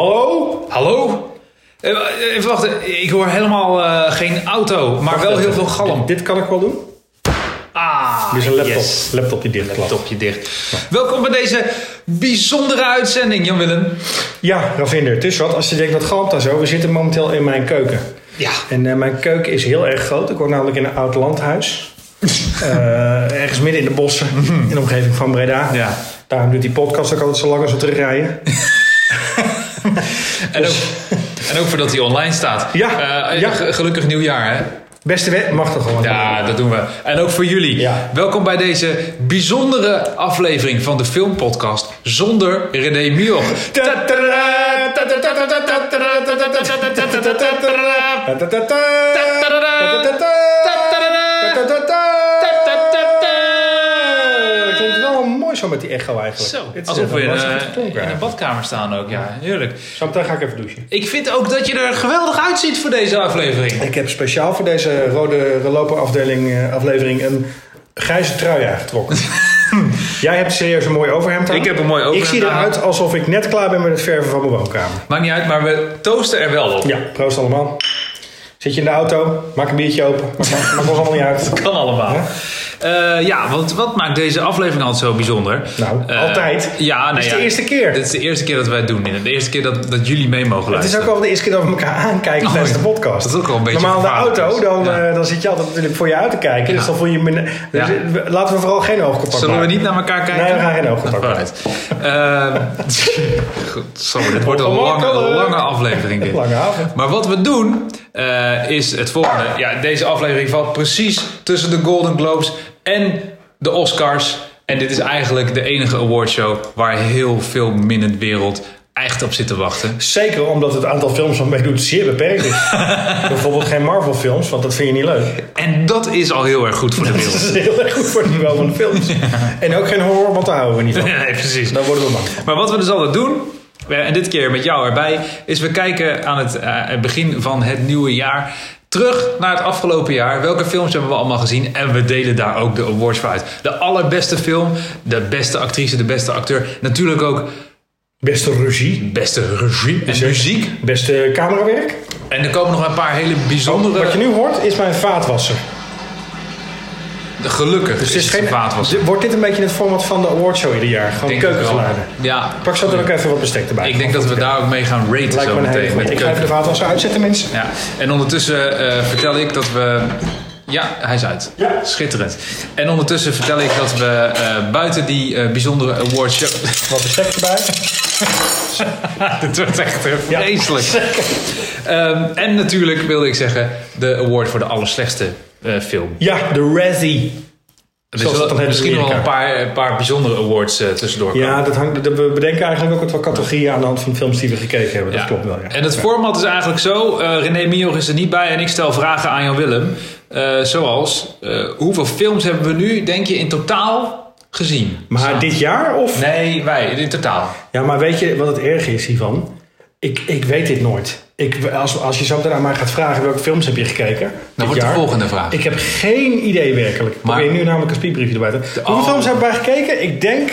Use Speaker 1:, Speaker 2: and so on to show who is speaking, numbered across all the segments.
Speaker 1: Hallo?
Speaker 2: Hallo? Eh, eh, Even wachten, ik hoor helemaal eh, geen auto, maar wel heel veel galm.
Speaker 1: Dit kan ik wel doen.
Speaker 2: Ah,
Speaker 1: Dus een laptop,
Speaker 2: yes.
Speaker 1: laptop die dichtklapt.
Speaker 2: Topje dicht. Welkom bij deze bijzondere uitzending, Jan Willem.
Speaker 1: Ja, Ravinder, het is wat. Als je denkt, wat galmt daar zo? We zitten momenteel in mijn keuken.
Speaker 2: Ja,
Speaker 1: En eh, mijn keuken is heel erg groot. Ik woon namelijk in een oud landhuis. Eh, ergens midden in de bossen, in de omgeving van Breda.
Speaker 2: Ja.
Speaker 1: Daarom doet die podcast ook altijd zo lang als we terugrijden.
Speaker 2: en ook, en ook voordat hij online staat.
Speaker 1: Ja,
Speaker 2: Eh,
Speaker 1: ja.
Speaker 2: ge- Gelukkig nieuwjaar, hè?
Speaker 1: Beste wet, mag toch gewoon.
Speaker 2: Ja, dat doen we. En ook voor jullie.
Speaker 1: Ja.
Speaker 2: Welkom bij deze bijzondere aflevering van de filmpodcast zonder René Mioch.
Speaker 1: Dat klinkt wel mooi zo met die echo eigenlijk.
Speaker 2: Zo,
Speaker 1: Dit is
Speaker 2: alsof we
Speaker 1: eh,
Speaker 2: in,
Speaker 1: hartstikke
Speaker 2: eh,
Speaker 1: goed geklonken
Speaker 2: in een
Speaker 1: eigenlijk.
Speaker 2: badkamer staan ook. Ja, heerlijk.
Speaker 1: Zometeen ga ik even douchen.
Speaker 2: Ik vind ook dat je er geweldig uitziet voor deze aflevering.
Speaker 1: Ik heb speciaal voor deze rode loperafdeling eh, aflevering een grijze trui aangetrokken. Jij hebt serieus een mooi overhemd aan.
Speaker 2: Ik heb een mooi overhemd
Speaker 1: Ik zie
Speaker 2: aan.
Speaker 1: eruit alsof ik net klaar ben met het verven van mijn woonkamer.
Speaker 2: Maakt niet uit, maar we toosten er wel op.
Speaker 1: Ja, proost allemaal. Zit je in de auto, maak een biertje open. Maakt maakt ons allemaal niet uit.
Speaker 2: Kan allemaal. Eh, ja, want wat maakt deze aflevering altijd zo bijzonder?
Speaker 1: Nou,
Speaker 2: Eh,
Speaker 1: altijd.
Speaker 2: Ja, nee,
Speaker 1: Dit is
Speaker 2: ja.
Speaker 1: de eerste keer.
Speaker 2: Dit is de eerste keer dat wij het doen. inderdaad. De eerste keer dat, dat jullie mee mogen
Speaker 1: Het is
Speaker 2: luisteren.
Speaker 1: ook wel de eerste keer dat we elkaar aankijken
Speaker 2: Oh,
Speaker 1: tijdens de
Speaker 2: ja.
Speaker 1: podcast.
Speaker 2: Dat is ook wel een beetje
Speaker 1: Normaal in de
Speaker 2: gevaarlijk,
Speaker 1: auto,
Speaker 2: dus.
Speaker 1: dan,
Speaker 2: Ja.
Speaker 1: eh, dan zit je altijd natuurlijk voor je uit te kijken. Dus
Speaker 2: Ja.
Speaker 1: dan voel je je... min- Dus
Speaker 2: Ja.
Speaker 1: we- Laten we vooral geen oogcontact
Speaker 2: Zullen we
Speaker 1: maken.
Speaker 2: niet naar elkaar kijken?
Speaker 1: Nee, we gaan geen oogcontact maken.
Speaker 2: Alright. Eh, goed, zo, dit wordt een lange,
Speaker 1: Ongemakkelijk.
Speaker 2: lange aflevering dit.
Speaker 1: Lange avond.
Speaker 2: Maar wat we doen eh, is het volgende. Ja, deze aflevering valt precies tussen de Golden Globes en de Oscars. En dit is eigenlijk de enige awardshow waar heel veel min in de wereld echt op zit te wachten.
Speaker 1: Zeker omdat het aantal films wat meedoet zeer beperkt is. Bijvoorbeeld geen Marvel films, want dat vind je niet leuk.
Speaker 2: En dat is al heel erg goed voor de
Speaker 1: Dat
Speaker 2: wereld.
Speaker 1: is heel erg goed voor het niveau van de films. En ook geen horror, want daar houden we niet van.
Speaker 2: Nee, precies.
Speaker 1: Daar worden we bang van.
Speaker 2: Maar wat we dus altijd doen, eh, en dit keer met jou erbij, is we kijken aan het eh, het begin van het nieuwe jaar terug naar het afgelopen jaar. Welke films hebben we allemaal gezien? En we delen daar ook de awards voor uit. De allerbeste film, de beste actrice, de beste acteur. Natuurlijk ook
Speaker 1: Beste regie,
Speaker 2: beste regie en muziek.
Speaker 1: beste camerawerk.
Speaker 2: En er komen nog een paar hele bijzondere...
Speaker 1: Oh, Wat je nu hoort is mijn vaatwasser.
Speaker 2: Gelukkig
Speaker 1: Dus het is
Speaker 2: het
Speaker 1: geen,
Speaker 2: vaat was.
Speaker 1: Dit- Wordt dit een beetje het format van de awardshow ieder jaar? Gewoon
Speaker 2: Denk ik wel.
Speaker 1: keukengeluiden.
Speaker 2: Ja.
Speaker 1: Pak zo dan ook even wat bestek erbij.
Speaker 2: Ik denk dat we daar ook mee gaan raten
Speaker 1: Lijkt
Speaker 2: zo
Speaker 1: me een hele
Speaker 2: meteen.
Speaker 1: goeie.
Speaker 2: met de
Speaker 1: Ik ga even
Speaker 2: keuken.
Speaker 1: de vaatwasser uitzetten, mensen.
Speaker 2: Ja, en ondertussen eh, vertel ik dat we. Ja, hij is uit.
Speaker 1: Ja.
Speaker 2: Schitterend. En ondertussen vertel ik dat we eh, buiten die eh, bijzondere awardshow.
Speaker 1: Wat bestek erbij.
Speaker 2: Dit wordt echt eh,
Speaker 1: Ja.
Speaker 2: vreselijk. Ehm, en natuurlijk wilde ik zeggen de award voor de allerslechtste eh, film.
Speaker 1: Ja, de Razzie.
Speaker 2: Er
Speaker 1: Zoals
Speaker 2: zullen
Speaker 1: dat dan heet in
Speaker 2: misschien nog wel een
Speaker 1: Amerika.
Speaker 2: paar, een paar bijzondere awards eh, tussendoor komen.
Speaker 1: Ja, dat hangt, dat- we bedenken eigenlijk ook wat wel categorieën aan de hand van films die we gekeken hebben. Dat
Speaker 2: Ja.
Speaker 1: klopt wel, ja.
Speaker 2: En het format is eigenlijk zo: eh, René Mioch is er niet bij en ik stel vragen aan Jan Willem. Eh, zoals: eh, hoeveel films hebben we nu, denk je, in totaal gezien?
Speaker 1: Maar dit jaar of?
Speaker 2: Nee, wij, in totaal.
Speaker 1: Ja, maar weet je wat het erg is hiervan? Ik, ik weet dit nooit. Ik, als, als je zo meteen aan mij gaat vragen welke films heb je gekeken. dit
Speaker 2: wordt de
Speaker 1: jaar,
Speaker 2: volgende vraag.
Speaker 1: Ik heb geen idee werkelijk.
Speaker 2: Maar-
Speaker 1: Maar Probeer nu namelijk een speedbriefje erbij te Hoeveel
Speaker 2: oh.
Speaker 1: films hebben wij gekeken? Ik denk,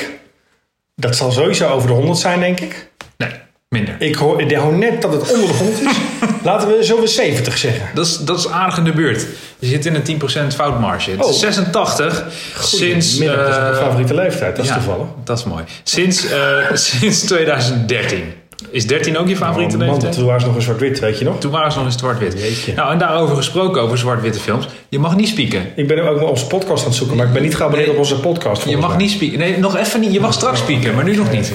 Speaker 1: dat zal sowieso over de 100 zijn denk ik.
Speaker 2: Nee, minder.
Speaker 1: Ik hoor, ik hoor net dat het onder de 100 is. Laten we, zullen we 70 zeggen?
Speaker 2: Dat is, dat is aardig in de buurt. Je zit in een 10% foutmarge. Het is
Speaker 1: Oh.
Speaker 2: 86 sinds.
Speaker 1: Middag, dat is
Speaker 2: eh,
Speaker 1: mijn favoriete leeftijd, dat is
Speaker 2: ja,
Speaker 1: toevallig.
Speaker 2: Dat is mooi. Sinds, eh, sinds 2013. Is 13 ook je favoriete
Speaker 1: Oh man,
Speaker 2: leeftijd?
Speaker 1: toen was nog een zwart-wit, weet je nog?
Speaker 2: Toen waren ze nog in zwart-wit.
Speaker 1: Jeetje.
Speaker 2: Nou, en daarover gesproken, over zwart-witte films. Je mag niet spieken.
Speaker 1: Ik ben ook wel onze podcast aan het zoeken, maar ik ben niet geabonneerd
Speaker 2: Nee,
Speaker 1: op onze podcast.
Speaker 2: Je
Speaker 1: volgens
Speaker 2: mag
Speaker 1: mij.
Speaker 2: niet spieken. Nee, nog even niet. Je mag
Speaker 1: Oh,
Speaker 2: straks spieken, maar nu nog niet.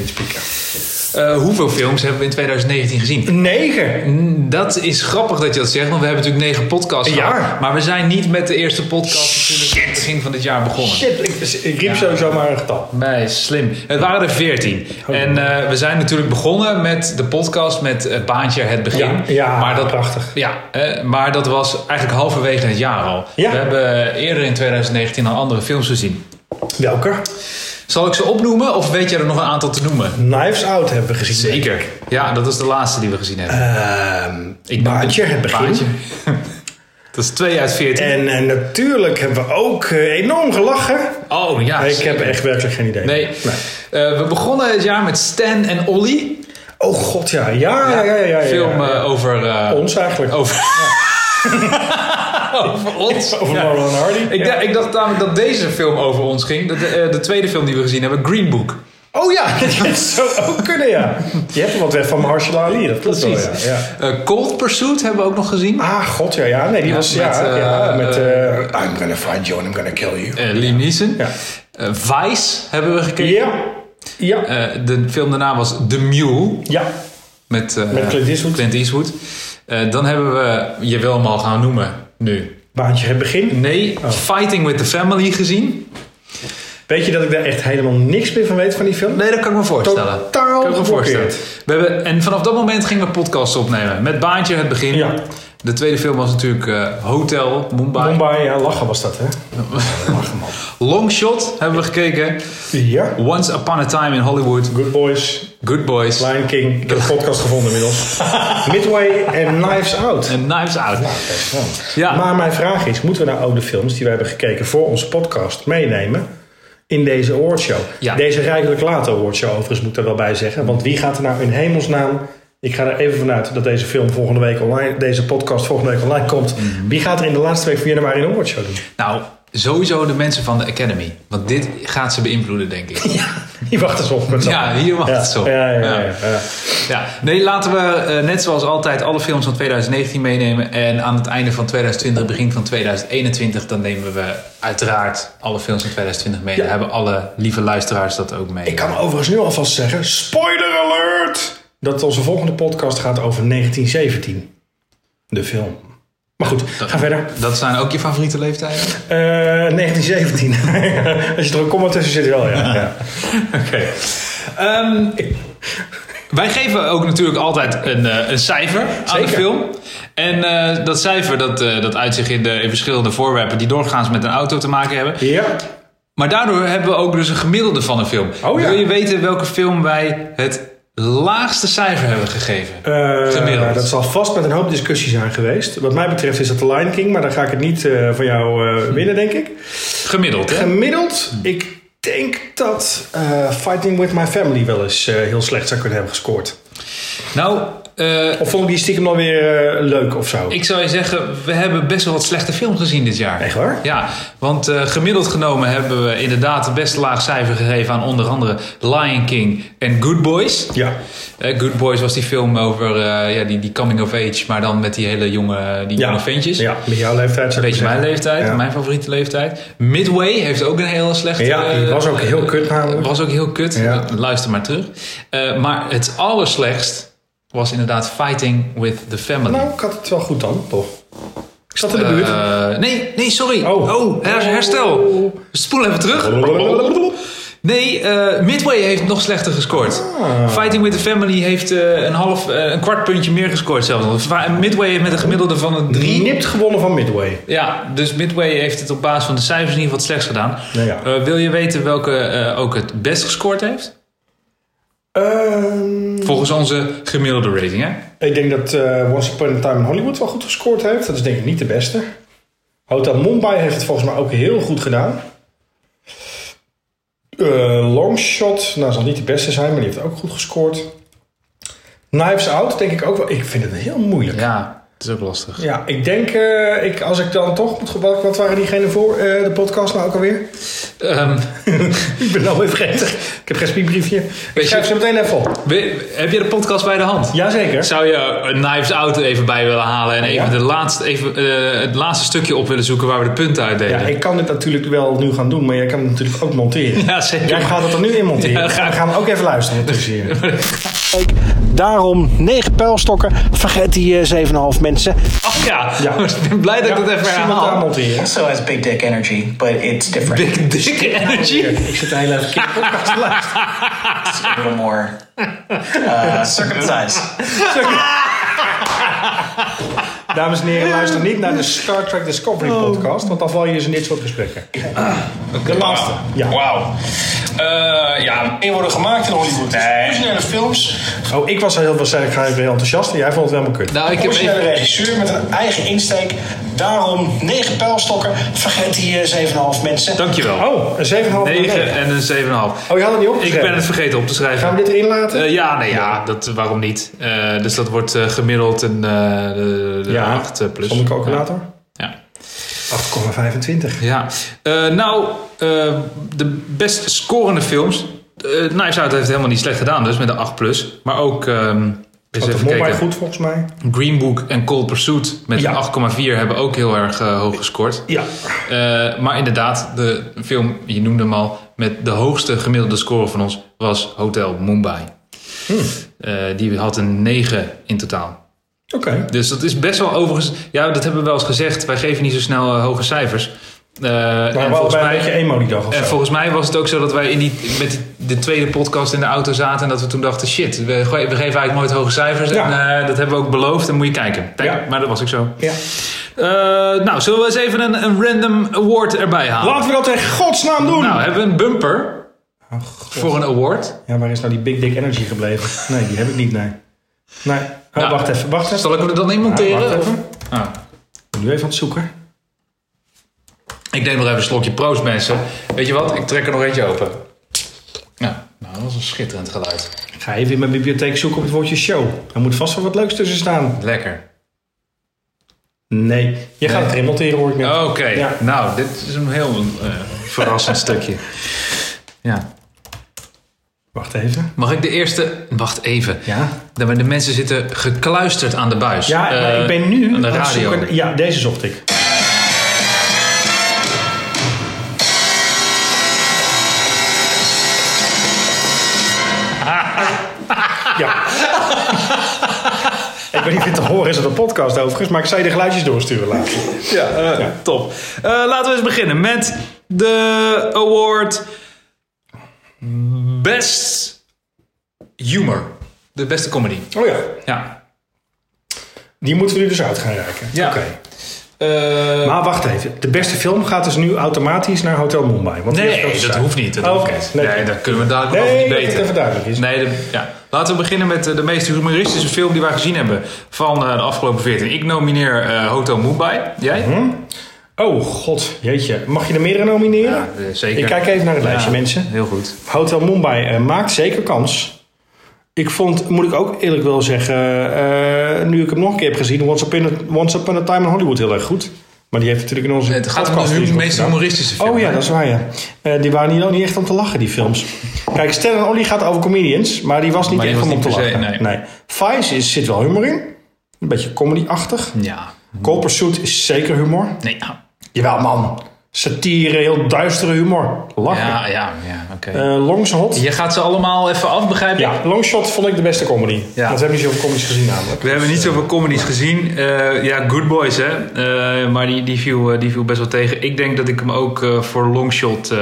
Speaker 2: Eh, hoeveel films hebben we in 2019 gezien?
Speaker 1: Negen!
Speaker 2: Mm, Dat is grappig dat je dat zegt, want we hebben natuurlijk negen podcasts
Speaker 1: Een
Speaker 2: gehad.
Speaker 1: jaar.
Speaker 2: Maar we zijn niet met de eerste podcast natuurlijk aan het begin van dit jaar begonnen.
Speaker 1: Shit, ik, ik riep sowieso maar een getal.
Speaker 2: Nee, slim. Het waren er veertien.
Speaker 1: Oh,
Speaker 2: En eh, we zijn natuurlijk begonnen met de podcast met eh, Baantje het begin.
Speaker 1: Ja, ja, prachtig.
Speaker 2: Ja, eh, maar dat was eigenlijk halverwege het jaar al.
Speaker 1: Ja.
Speaker 2: We hebben eerder in 2019 al andere films gezien.
Speaker 1: Welke?
Speaker 2: Zal ik ze opnoemen of weet jij er nog een aantal te noemen?
Speaker 1: Knives Out hebben we gezien.
Speaker 2: Zeker. Ja, dat is de laatste die we gezien hebben.
Speaker 1: Ehm
Speaker 2: Ik noem
Speaker 1: Baantje, het begin.
Speaker 2: Baantje. dat is 2 uit 14.
Speaker 1: En eh, natuurlijk hebben we ook eh, enorm gelachen.
Speaker 2: oh ja.
Speaker 1: Ik heb echt werkelijk geen idee.
Speaker 2: Nee. Eh, we begonnen het jaar met Stan en Olly.
Speaker 1: Oh god, ja. Ja, ja, ja. ja, ja, ja.
Speaker 2: Film eh, over... eh,
Speaker 1: Ons eigenlijk.
Speaker 2: Over... over ons.
Speaker 1: Over
Speaker 2: Ja.
Speaker 1: Laurel en Hardy.
Speaker 2: Ik,
Speaker 1: Ja.
Speaker 2: dacht, ik dacht namelijk dat deze film over ons ging. Dat De, eh, de tweede film die we gezien hebben, Green Book.
Speaker 1: Oh ja, dat zou ook kunnen, ja. Je hebt er wat weg van Marshall Ali, dat klopt wel, ja. ja.
Speaker 2: Eh, Cold Pursuit hebben we ook nog gezien.
Speaker 1: Ah, god, ja, ja. Nee, die
Speaker 2: Ja,
Speaker 1: was...
Speaker 2: met,
Speaker 1: ja,
Speaker 2: eh,
Speaker 1: ja, met
Speaker 2: eh,
Speaker 1: eh, I'm gonna find you and I'm gonna kill you.
Speaker 2: Eh, Liam Neeson.
Speaker 1: Ja.
Speaker 2: Eh, Vice hebben we gekeken.
Speaker 1: Ja. Ja.
Speaker 2: Eh, de film daarna was The Mule.
Speaker 1: Ja.
Speaker 2: Met, eh,
Speaker 1: Met Clint Eastwood.
Speaker 2: Clint Eastwood. Eh, dan hebben we, je wil hem al gaan noemen nu.
Speaker 1: Baantje het begin.
Speaker 2: Nee, Fighting with the Family gezien.
Speaker 1: Weet je dat ik daar echt helemaal niks meer van weet van die film?
Speaker 2: Nee, dat kan ik me voorstellen.
Speaker 1: Totaal
Speaker 2: kan ik me voorstellen.
Speaker 1: geblokkeerd.
Speaker 2: We hebben, en vanaf dat moment gingen we podcasts opnemen. Met Baantje het begin.
Speaker 1: Ja.
Speaker 2: De tweede film was natuurlijk eh, Hotel Mumbai.
Speaker 1: Mumbai, ja, eh, lachen was dat, hè? lachen, man.
Speaker 2: Long Shot hebben we gekeken.
Speaker 1: Ja.
Speaker 2: Once Upon a Time in Hollywood.
Speaker 1: Good Boys,
Speaker 2: Good Boys.
Speaker 1: Lion King. Ik heb de podcast gevonden inmiddels. Midway en Knives Out.
Speaker 2: En Knives Out.
Speaker 1: Ja.
Speaker 2: Ja.
Speaker 1: Maar mijn vraag is, moeten we nou oude films die we hebben gekeken voor onze podcast meenemen in deze awardshow?
Speaker 2: Ja.
Speaker 1: Deze rijkelijk late awardshow overigens moet ik er wel bij zeggen. Want wie gaat er nou in hemelsnaam, ik ga er even vanuit dat deze film volgende week online, deze podcast volgende week online komt. Wie gaat er in de laatste week van januari een awardshow doen?
Speaker 2: Nou, sowieso de mensen van de Academy. Want dit gaat ze beïnvloeden, denk ik.
Speaker 1: Ja, die wachten ze op met z'n
Speaker 2: Ja,
Speaker 1: allen.
Speaker 2: hier wachten ze op.
Speaker 1: Ja, ja, ja,
Speaker 2: Ja.
Speaker 1: ja, ja.
Speaker 2: Ja, nee, laten we eh, net zoals altijd alle films van 2019 meenemen. En aan het einde van 2020, begin van 2021, dan nemen we uiteraard alle films van 2020 mee. Dan hebben alle lieve luisteraars dat ook mee.
Speaker 1: Ik kan overigens nu alvast zeggen, spoiler alert, dat onze volgende podcast gaat over 1917. De film. Maar goed, ga verder.
Speaker 2: Dat zijn ook je favoriete leeftijden?
Speaker 1: Eh, 1917. Als je er een komma tussen zit, wel ja. ja.
Speaker 2: Oké. Ehm, wij geven ook natuurlijk altijd een, eh, een cijfer aan de
Speaker 1: Zeker.
Speaker 2: film. En eh, dat cijfer dat, eh, dat uit zich in, de, in verschillende voorwerpen die doorgaans met een auto te maken hebben.
Speaker 1: Ja.
Speaker 2: Maar daardoor hebben we ook dus een gemiddelde van een film.
Speaker 1: Oh ja.
Speaker 2: Wil je weten welke film wij het laagste cijfer hebben gegeven?
Speaker 1: Eh,
Speaker 2: Gemiddeld.
Speaker 1: nou, dat zal vast met een hoop discussie zijn geweest. Wat mij betreft is dat de Lion King, maar daar ga ik het niet eh, van jou eh,
Speaker 2: Hm.
Speaker 1: winnen, denk ik.
Speaker 2: Gemiddeld, hè?
Speaker 1: Gemiddeld,
Speaker 2: Hm.
Speaker 1: ik denk dat eh, Fighting With My Family wel eens eh, heel slecht zou kunnen hebben gescoord.
Speaker 2: nou, eh,
Speaker 1: Of vond ik die stiekem alweer weer eh, leuk of zo?
Speaker 2: ik zou je zeggen, we hebben best wel wat slechte films gezien dit jaar.
Speaker 1: Echt waar?
Speaker 2: Ja, want eh, gemiddeld genomen hebben we inderdaad het best laag cijfer gegeven aan onder andere Lion King en Good Boys.
Speaker 1: Ja.
Speaker 2: Eh, Good Boys was die film over eh, ja, die, die coming of age, maar dan met die hele jonge, die
Speaker 1: Ja.
Speaker 2: jonge ventjes.
Speaker 1: Ja, met jouw leeftijd zou
Speaker 2: Een
Speaker 1: ik
Speaker 2: beetje
Speaker 1: maar
Speaker 2: mijn
Speaker 1: zeggen.
Speaker 2: leeftijd,
Speaker 1: Ja.
Speaker 2: mijn favoriete leeftijd. Midway heeft ook een hele slechte...
Speaker 1: Ja, die
Speaker 2: eh,
Speaker 1: was ook heel kut namelijk.
Speaker 2: Was ook heel kut,
Speaker 1: Ja.
Speaker 2: luister maar terug. Eh, maar het allerslechtst was inderdaad Fighting with the Family.
Speaker 1: Nou, ik had het wel goed dan, toch? Ik zat in de buurt.
Speaker 2: Eh, nee, nee, sorry. Oh,
Speaker 1: Oh.
Speaker 2: her- herstel. Spoel even terug. Nee, eh, Midway heeft nog slechter gescoord.
Speaker 1: Ah.
Speaker 2: Fighting with the Family heeft eh, een, half, eh, een kwart puntje meer gescoord zelfs. Va- Midway heeft met een gemiddelde van een 3.
Speaker 1: Nipt gewonnen van Midway.
Speaker 2: Ja, dus Midway heeft het op basis van de cijfers in ieder geval het slechts gedaan.
Speaker 1: Nou ja.
Speaker 2: Eh, wil je weten welke eh, ook het best gescoord heeft?
Speaker 1: Ehm,
Speaker 2: Volgens onze gemiddelde rating, hè?
Speaker 1: Ik denk dat eh, Once Upon a Time in Hollywood wel goed gescoord heeft. Dat is denk ik niet de beste. Hotel Mumbai heeft het volgens mij ook heel goed gedaan. Eh, Longshot, nou zal niet de beste zijn, maar die heeft ook goed gescoord. Knives Out denk ik ook wel. Ik vind het heel moeilijk. Ja,
Speaker 2: Ja, het is ook lastig.
Speaker 1: ik denk, eh, ik, als ik dan toch moet... ge- Wat, wat waren diegenen voor eh, de podcast nou ook alweer?
Speaker 2: Ehm,
Speaker 1: ik ben alweer vergeten. Ik heb geen spiekbriefje.
Speaker 2: je-
Speaker 1: Ik schrijf ze meteen even op.
Speaker 2: we- heb je de podcast bij de hand?
Speaker 1: Jazeker.
Speaker 2: Zou je een Knives Out er even bij willen halen en even,
Speaker 1: Ja.
Speaker 2: de laatste, even eh, het laatste stukje op willen zoeken waar we de punten
Speaker 1: Ja,
Speaker 2: uitdelen?
Speaker 1: ik kan dit natuurlijk wel nu gaan doen, maar jij kan het natuurlijk ook monteren.
Speaker 2: Ja, zeker.
Speaker 1: Jij gaat het er nu in monteren.
Speaker 2: Ja, ga ik.
Speaker 1: We gaan ook even luisteren. Daarom 9 pijlstokken. Vergeet die 7,5 mensen.
Speaker 2: Oh ja,
Speaker 1: Ja.
Speaker 2: ik ben blij dat ik
Speaker 1: Ja,
Speaker 2: het even
Speaker 1: zie wat daar
Speaker 2: herhaal.
Speaker 1: monteren.
Speaker 3: also has big dick energy, but it's different.
Speaker 2: Big dikke energy.
Speaker 1: Ik zit de hele even keer podcast te luisteren.
Speaker 3: It's a little more uh, circumcised.
Speaker 1: Dames en heren, luister niet naar de Star Trek
Speaker 2: Oh.
Speaker 1: Discovery podcast, want dan val je dus in dit soort gesprekken. De laatste. Ja.
Speaker 2: Wauw.
Speaker 4: Eh, ja, meer worden gemaakt in Hollywood. Dus originele films.
Speaker 1: Oh, ik was heel waarschijnlijk ga ik weer enthousiast en jij vond het helemaal kut.
Speaker 2: Nou, ik heb
Speaker 4: originele
Speaker 2: even...
Speaker 4: regisseur met een eigen insteek. Daarom negen pijlstokken. Vergeet die eh, 7,5 mensen.
Speaker 2: Dankjewel.
Speaker 1: Oh, een 7,5
Speaker 2: 9
Speaker 1: negen.
Speaker 2: en een 7,5.
Speaker 1: Oh, je had het niet
Speaker 2: Ik
Speaker 1: opgeschreven.
Speaker 2: ben het vergeten op te schrijven.
Speaker 1: Gaan we dit erin laten?
Speaker 2: Eh, ja, nee, ja, dat, waarom niet? Eh, dus dat wordt eh, gemiddeld een eh de, de
Speaker 1: Ja,
Speaker 2: 8 eh, plus.
Speaker 1: Zonder calculator?
Speaker 2: Ja.
Speaker 1: 8,25.
Speaker 2: Ja, Eh, nou, eh, de best scorende films. eh Knives Out heeft het helemaal niet slecht gedaan, dus met een 8 plus. Maar ook, ehm eens
Speaker 1: Wat de
Speaker 2: even
Speaker 1: voorbij
Speaker 2: kijken.
Speaker 1: goed volgens mij.
Speaker 2: Green Book en Cold Pursuit met
Speaker 1: Ja.
Speaker 2: een 8,4 hebben ook heel erg eh, hoog gescoord.
Speaker 1: Ja.
Speaker 2: Eh, maar inderdaad, de film, je noemde hem al, met de hoogste gemiddelde score van ons was Hotel Mumbai.
Speaker 1: Hm.
Speaker 2: Eh, die had een 9 in totaal.
Speaker 1: Oké.
Speaker 2: Dus dat is best wel overigens. Ja, dat hebben we wel eens gezegd. Wij geven niet zo snel eh, hoge cijfers. Eh,
Speaker 1: Maar
Speaker 2: en
Speaker 1: wel
Speaker 2: volgens
Speaker 1: bij
Speaker 2: mij,
Speaker 1: een beetje emo die dag of
Speaker 2: en
Speaker 1: zo.
Speaker 2: volgens mij was het ook zo dat wij in die, met die- de tweede podcast in de auto zaten. En dat we toen dachten: shit, we, ge- we geven eigenlijk nooit hoge cijfers.
Speaker 1: Ja.
Speaker 2: En eh, dat hebben we ook beloofd. Dan moet je kijken. Kijk,
Speaker 1: Ja.
Speaker 2: Maar dat was ook zo.
Speaker 1: Ja.
Speaker 2: Eh, nou, zullen we eens even een, een random award erbij halen?
Speaker 1: Laten we dat in godsnaam doen! Oh,
Speaker 2: Nou, hebben we een bumper voor een award?
Speaker 1: Ja, waar is nou die Big Dick Energy gebleven? Nee, die heb ik niet, nee. Nee. Oh,
Speaker 2: Nou,
Speaker 1: wacht even, wacht even.
Speaker 2: Zal ik hem er dan in
Speaker 1: Ja,
Speaker 2: monteren?
Speaker 1: wacht
Speaker 2: of-
Speaker 1: even.
Speaker 2: Ah.
Speaker 1: Ik ben Nu even aan het zoeken.
Speaker 2: Ik neem nog even een slokje proost, mensen. Weet je wat? Ik trek er nog eentje open. Nou, nou dat is een schitterend geluid.
Speaker 1: Ik ga even in mijn bibliotheek zoeken op het woordje show. Er moet vast wel wat leuks tussen staan.
Speaker 2: Lekker.
Speaker 1: Nee, je gaat het erin monteren hoor ik net.
Speaker 2: Oké,
Speaker 1: Ja.
Speaker 2: nou, dit is een heel eh, verrassend stukje. Ja.
Speaker 1: Wacht even.
Speaker 2: Mag ik de eerste... Wacht even.
Speaker 1: Ja.
Speaker 2: De, de mensen zitten gekluisterd aan de buis.
Speaker 1: Ja, maar
Speaker 2: Eh,
Speaker 1: ik ben nu
Speaker 2: aan de
Speaker 1: aan het
Speaker 2: radio.
Speaker 1: zoeken- Ja, deze zocht ik. Ja. ik weet niet of het te horen is op de podcast overigens, maar ik zou je de geluidjes doorsturen later.
Speaker 2: Ja, eh, top. Eh, laten we eens beginnen met de award Best Humor. De beste comedy.
Speaker 1: Oh ja.
Speaker 2: Ja.
Speaker 1: Die moeten we nu dus uit gaan reiken.
Speaker 2: Ja.
Speaker 1: Oké.
Speaker 2: Eh,
Speaker 1: Maar wacht even. De beste film gaat dus nu automatisch naar Hotel Mumbai. Want die heeft
Speaker 2: nee,
Speaker 1: grote
Speaker 2: dat
Speaker 1: zaak.
Speaker 2: hoeft niet. Dat
Speaker 1: Oké.
Speaker 2: hoeft niet.
Speaker 1: Nee,
Speaker 2: Nee, dan kunnen we dadelijk nog
Speaker 1: Nee,
Speaker 2: niet
Speaker 1: dat het even
Speaker 2: beter.
Speaker 1: duidelijk is.
Speaker 2: Nee, de- ja. Laten we beginnen met eh, de meest humoristische film die wij gezien hebben van eh, de afgelopen 14. Ik nomineer eh, Hotel Mumbai. Jij?
Speaker 1: Mhm, Oh god, jeetje. Mag je er meer in nomineren?
Speaker 2: Ja, eh, zeker.
Speaker 1: Ik kijk even naar het lijstje,
Speaker 2: Ja,
Speaker 1: mensen.
Speaker 2: Heel goed.
Speaker 1: Hotel Mumbai eh, maakt zeker kans. Ik vond, moet ik ook eerlijk wel zeggen, eh, nu ik hem nog een keer heb gezien, Once Upon a, Once Upon a Time in Hollywood heel erg goed. Maar die heeft natuurlijk in onze
Speaker 2: Het gaat om
Speaker 1: podcast
Speaker 2: de
Speaker 1: die
Speaker 2: hum-
Speaker 1: is
Speaker 2: meest
Speaker 1: opgedaan.
Speaker 2: humoristische film.
Speaker 1: Oh ja,
Speaker 2: hè?
Speaker 1: dat is waar ja. Eh, die waren hier ook niet echt om te lachen, die films. Kijk, Stan en Ollie gaat over comedians, maar die was niet
Speaker 2: Maar die
Speaker 1: echt om
Speaker 2: was
Speaker 1: om te
Speaker 2: niet per se,
Speaker 1: lachen.
Speaker 2: nee.
Speaker 1: Vice is, zit wel humor in. Een beetje comedy-achtig.
Speaker 2: Ja.
Speaker 1: Cold Pursuit is zeker humor.
Speaker 2: Nee, ja.
Speaker 1: Jawel man, satire, heel duistere humor. Lachen.
Speaker 2: Ja, ja, ja, oké.
Speaker 1: Eh, Long Shot.
Speaker 2: Je gaat ze allemaal even af, begrijp ik?
Speaker 1: Ja, Longshot vond ik de beste comedy. Want we hebben niet zoveel comedies gezien namelijk.
Speaker 2: We hebben niet zoveel comedies gezien. Eh, ja, Good Boys, hè. Eh, maar die, die, viel, eh, die viel best wel tegen. Ik denk dat ik hem ook eh, voor Longshot eh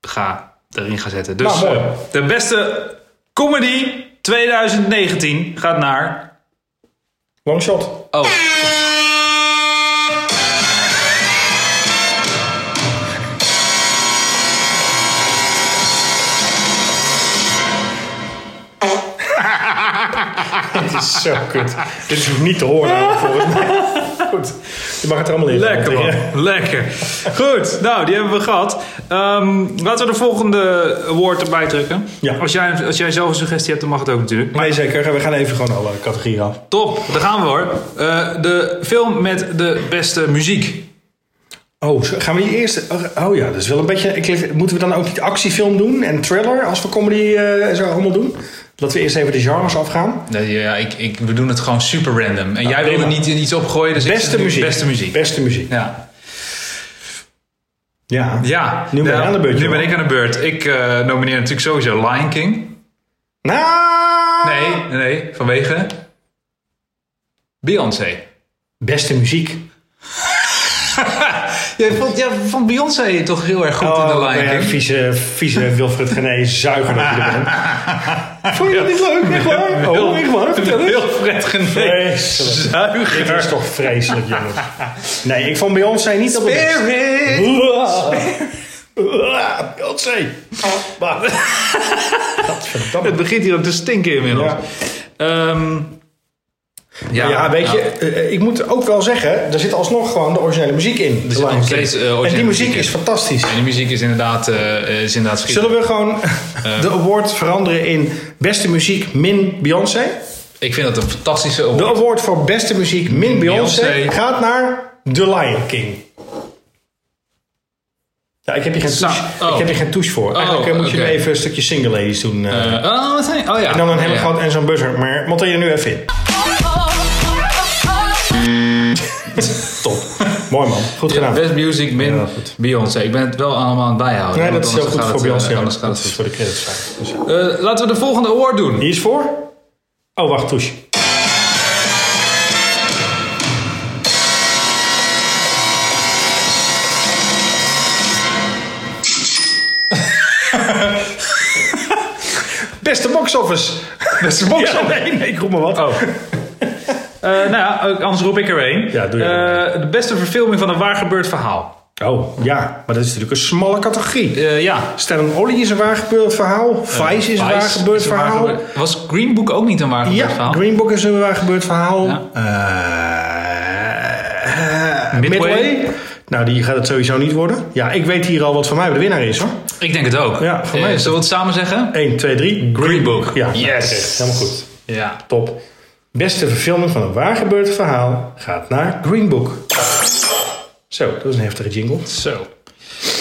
Speaker 2: ga, erin ga zetten. Dus
Speaker 1: Nou, mooi.
Speaker 2: eh, de beste comedy 2019 gaat naar...
Speaker 1: Longshot.
Speaker 2: Oh,
Speaker 1: Dit is zo kut. Dit is niet te horen namelijk, volgens mij. Goed, je mag het er allemaal in.
Speaker 2: lekker
Speaker 1: Want,
Speaker 2: man.
Speaker 1: eh,
Speaker 2: Lekker. Goed, nou, die hebben we gehad. Ehm, laten we de volgende award erbij drukken.
Speaker 1: Ja.
Speaker 2: Als, jij, als jij zelf een suggestie hebt, dan mag het ook natuurlijk.
Speaker 1: Nee, zeker. We gaan even gewoon alle categorieën af.
Speaker 2: Top, daar gaan we hoor. Eh, de film met de beste muziek.
Speaker 1: Oh, zo- gaan we die eerste... oh, Oh ja, dat is wel een beetje... Ik, lig- moeten we dan ook niet actiefilm doen en thriller als we comedy eh, en zo allemaal doen? Dat we eerst even de genres afgaan.
Speaker 2: Nee, ja, ik, ik, we doen het gewoon super random. En jij wilde
Speaker 1: Nou, prima.
Speaker 2: niet in iets opgooien, dus ik
Speaker 1: Beste
Speaker 2: zeg nu
Speaker 1: muziek.
Speaker 2: Beste muziek.
Speaker 1: Beste muziek.
Speaker 2: Ja.
Speaker 1: Ja.
Speaker 2: ja.
Speaker 1: Nu ben
Speaker 2: Ja,
Speaker 1: je aan de beurt,
Speaker 2: Nu ben
Speaker 1: jongen.
Speaker 2: ik aan de beurt. Ik eh, nomineer natuurlijk sowieso Lion King.
Speaker 1: Nou!
Speaker 2: Nee, nee, vanwege Beyoncé.
Speaker 1: Beste muziek.
Speaker 2: Jij vond, ja, vond Beyoncé toch heel erg goed
Speaker 1: Oh, ja, vieze, vieze Wilfred Gené zuiger dat je er bent. Vond je dat niet leuk? Echt waar? Oh, echt waar? Vertel eens.
Speaker 2: Heel Fred Genee.
Speaker 1: Vreselijk. Dit is toch vreselijk, jongens. Nee, ik vond Beyoncé niet op de best.
Speaker 2: Spirit.
Speaker 1: Uah. Ah, Beyoncé. Maar- Gadverdamme.
Speaker 2: Het begint hier ook te stinken inmiddels. Ehm,
Speaker 1: Ja, weet je, eh, ik moet ook wel zeggen, er zit alsnog gewoon de originele muziek in.
Speaker 2: zit nog steeds, eh, originele
Speaker 1: en die muziek
Speaker 2: muziek in.
Speaker 1: is fantastisch.
Speaker 2: En de muziek is inderdaad, eh is inderdaad schiet.
Speaker 1: Zullen we gewoon
Speaker 2: Eh.
Speaker 1: de award veranderen in beste muziek min Beyoncé?
Speaker 2: Ik vind dat een fantastische
Speaker 1: De
Speaker 2: award.
Speaker 1: award voor beste muziek min Beyoncé
Speaker 2: Beyoncé.
Speaker 1: gaat naar The Lion King. Ja, ik heb hier geen
Speaker 2: Zo,
Speaker 1: touche,
Speaker 2: oh.
Speaker 1: ik heb hier geen touche voor. Eigenlijk eh, moet je
Speaker 2: oké.
Speaker 1: nu even een stukje single ladies doen. eh.
Speaker 2: Eh, oh, wat zijn- oh ja.
Speaker 1: en dan een hele
Speaker 2: ja.
Speaker 1: groot en zo'n buzzer. Maar monteer je er nu even in. Top. Mooi man. Goed gedaan.
Speaker 2: Best Music min
Speaker 1: Ja, goed.
Speaker 2: Beyoncé. Ik ben het wel allemaal aan het bijhouden.
Speaker 1: Nee,
Speaker 2: want
Speaker 1: dat is heel
Speaker 2: anders
Speaker 1: goed
Speaker 2: gaat
Speaker 1: voor
Speaker 2: het, eh,
Speaker 1: Beyoncé.
Speaker 2: Anders gaat
Speaker 1: Dat
Speaker 2: het
Speaker 1: is
Speaker 2: goed.
Speaker 1: voor de credits. fijn. Dus, eh,
Speaker 2: Eh, laten we de volgende award doen.
Speaker 1: Hier is voor. Oh, wacht, touche. Beste box office.
Speaker 2: Beste box
Speaker 1: Ja, nee, nee, ik roep maar wat.
Speaker 2: Oh. Eh, nou ja, eh, anders roep ik er een.
Speaker 1: Ja, doe je
Speaker 2: Eh, de beste verfilming van een waar gebeurd verhaal.
Speaker 1: Oh, ja, maar dat is natuurlijk een smalle categorie.
Speaker 2: Eh, ja. Eh,
Speaker 1: Stellan Olly is een waar gebeurd verhaal. Vice is een waar
Speaker 2: Vice
Speaker 1: gebeurd
Speaker 2: is een
Speaker 1: verhaal.
Speaker 2: waargebeurd- Was Green Book ook niet een waar gebeurd
Speaker 1: Ja,
Speaker 2: verhaal?
Speaker 1: Green Book is een waar gebeurd verhaal.
Speaker 2: Ja.
Speaker 1: Eh, eh,
Speaker 2: Midway.
Speaker 1: Nou, die gaat het sowieso niet worden. Ja, ik weet hier al wat voor mij de winnaar is hoor.
Speaker 2: Ik denk het ook.
Speaker 1: Ja, voor mij
Speaker 2: Eh,
Speaker 1: is het-
Speaker 2: zullen we het samen zeggen?
Speaker 1: 1, 2, 3.
Speaker 2: Green Book.
Speaker 1: Ja, nou,
Speaker 2: yes.
Speaker 1: terecht. helemaal goed.
Speaker 2: Ja.
Speaker 1: Top. Beste verfilming van een waar gebeurd verhaal gaat naar Green Book. Zo, dat is een heftige jingle.
Speaker 2: Zo.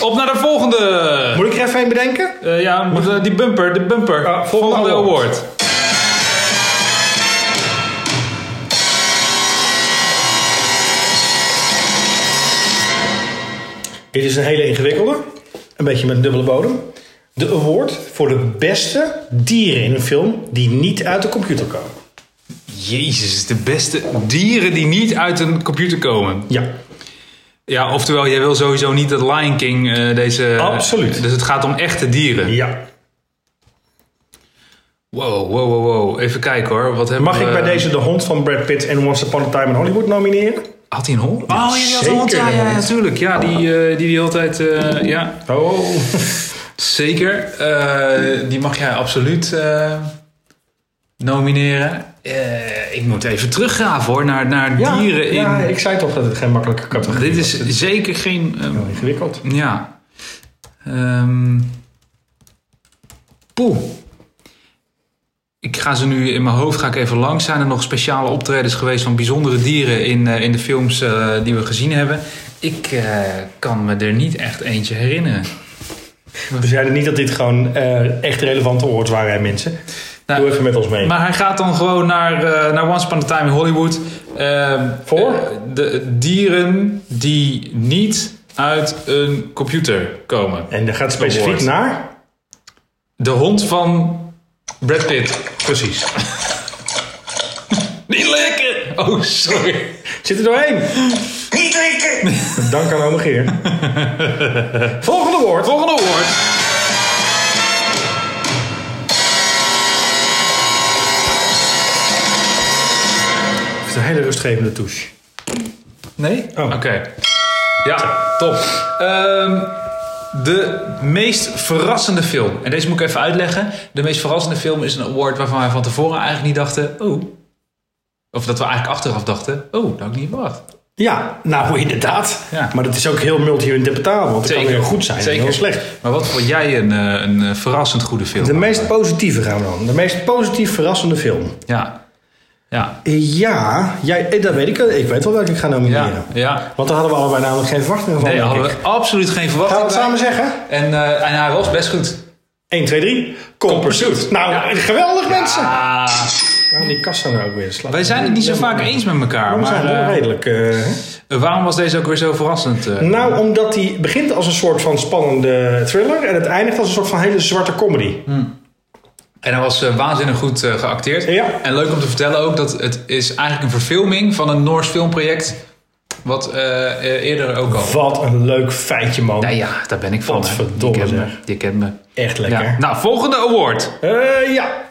Speaker 2: Op naar de volgende.
Speaker 1: Moet ik er even een bedenken?
Speaker 2: Eh, ja, moet, eh, die bumper, de bumper.
Speaker 1: Ah, volgende
Speaker 2: volgende, award.
Speaker 1: award. Dit is een hele ingewikkelde. Een beetje met een dubbele bodem. De award voor de beste dieren in een film die niet uit de computer komen.
Speaker 2: Jezus, de beste dieren die niet uit een computer komen.
Speaker 1: Ja.
Speaker 2: Ja, oftewel, jij wil sowieso niet dat Lion King eh, deze...
Speaker 1: Absoluut.
Speaker 2: Dus het gaat om echte dieren.
Speaker 1: Ja.
Speaker 2: Wow, wow, wow, wow. Even kijken hoor. Wat hebben
Speaker 1: Mag
Speaker 2: we-
Speaker 1: ik bij deze de hond van Brad Pitt en Once Upon a Time in Hollywood nomineren?
Speaker 2: Had hij een hond? Oh, ja, die had een hond.
Speaker 1: zeker
Speaker 2: Ja,
Speaker 1: een
Speaker 2: ja,
Speaker 1: hond.
Speaker 2: natuurlijk. Ja, die, eh die, die altijd... eh, ja,
Speaker 1: Oh.
Speaker 2: zeker. Eh, die mag jij absoluut eh, nomineren. Eh, ik moet even teruggraven hoor, naar, naar
Speaker 1: Ja,
Speaker 2: dieren in...
Speaker 1: ja, ik zei toch dat het geen makkelijke categorie
Speaker 2: Dit
Speaker 1: was.
Speaker 2: is zeker geen. ehm,
Speaker 1: Heel ingewikkeld.
Speaker 2: ja. Ehm, poeh. Ik ga ze nu in mijn hoofd ga ik even langs. Zijn er nog speciale optredens geweest van bijzondere dieren in, eh, in de films eh, die we gezien hebben? Ik eh, kan me er niet echt eentje herinneren.
Speaker 1: We zeiden niet dat dit gewoon eh, echt relevante awards waren, hè, mensen.
Speaker 2: Nou,
Speaker 1: Doe even met ons mee.
Speaker 2: Maar hij gaat dan gewoon naar, eh, naar Once Upon a Time in Hollywood. Ehm,
Speaker 1: Voor?
Speaker 2: eh, de dieren die niet uit een computer komen.
Speaker 1: en dat gaat specifiek
Speaker 2: Award.
Speaker 1: naar.
Speaker 2: De hond van Brad Pitt. Precies. Niet lekker! Oh, sorry.
Speaker 1: Zit er doorheen!
Speaker 4: Niet drinken!
Speaker 1: Dank aan Ome Geer. Volgende woord.
Speaker 2: Volgende woord.
Speaker 1: Het is een hele rustgevende touche.
Speaker 2: Nee?
Speaker 1: Oh.
Speaker 2: Oké. Ja, top. Ehm, de meest verrassende film. En deze moet ik even uitleggen. De meest verrassende film is een award waarvan wij van tevoren eigenlijk niet dachten... Oh. Of dat we eigenlijk achteraf dachten... Oh, dat had ik niet verwacht.
Speaker 1: Ja, nou inderdaad.
Speaker 2: Ja.
Speaker 1: Maar dat is ook heel multi-interpretabel. Want het kan heel goed zijn en heel slecht.
Speaker 2: Maar wat vond jij een, eh, een eh, verrassend goede film?
Speaker 1: De meest positieve gaan we dan. De meest positief verrassende film.
Speaker 2: Ja. Ja.
Speaker 1: Eh, Ja, jij, eh, dat weet ik. Ik weet wel welke ik ga nomineren.
Speaker 2: Ja. ja.
Speaker 1: Want daar hadden we allebei namelijk geen verwachtingen van.
Speaker 2: Nee,
Speaker 1: denk
Speaker 2: hadden
Speaker 1: ik.
Speaker 2: we absoluut geen
Speaker 1: Gaan
Speaker 2: verwachting.
Speaker 1: we het
Speaker 2: bij.
Speaker 1: samen zeggen?
Speaker 2: En, eh, en hij was best goed.
Speaker 1: 1, 2, 3. Kom Pursuit. Nou, geweldig mensen.
Speaker 2: Ah,
Speaker 1: Waarom die kassa nou ook weer slag?
Speaker 2: wij zijn het niet zo vaak eens met elkaar.
Speaker 1: Waarom zijn
Speaker 2: Maar
Speaker 1: we
Speaker 2: eh,
Speaker 1: redelijk? eh, hè?
Speaker 2: waarom was deze ook weer zo verrassend? eh?
Speaker 1: Nou, omdat die begint als een soort van spannende thriller en het eindigt als een soort van hele zwarte comedy.
Speaker 2: En hij was eh, waanzinnig goed eh, geacteerd.
Speaker 1: Ja.
Speaker 2: En leuk om te vertellen ook dat het is eigenlijk een verfilming van een Noors filmproject. Wat eh, eh, eerder ook al.
Speaker 1: Wat een leuk feitje, man.
Speaker 2: Nou ja, daar ben ik van. hè.
Speaker 1: Godverdomme,
Speaker 2: Je kent me.
Speaker 1: zeg.
Speaker 2: Je kent me.
Speaker 1: Echt lekker.
Speaker 2: Ja. Nou, volgende award.
Speaker 1: Eh, ja.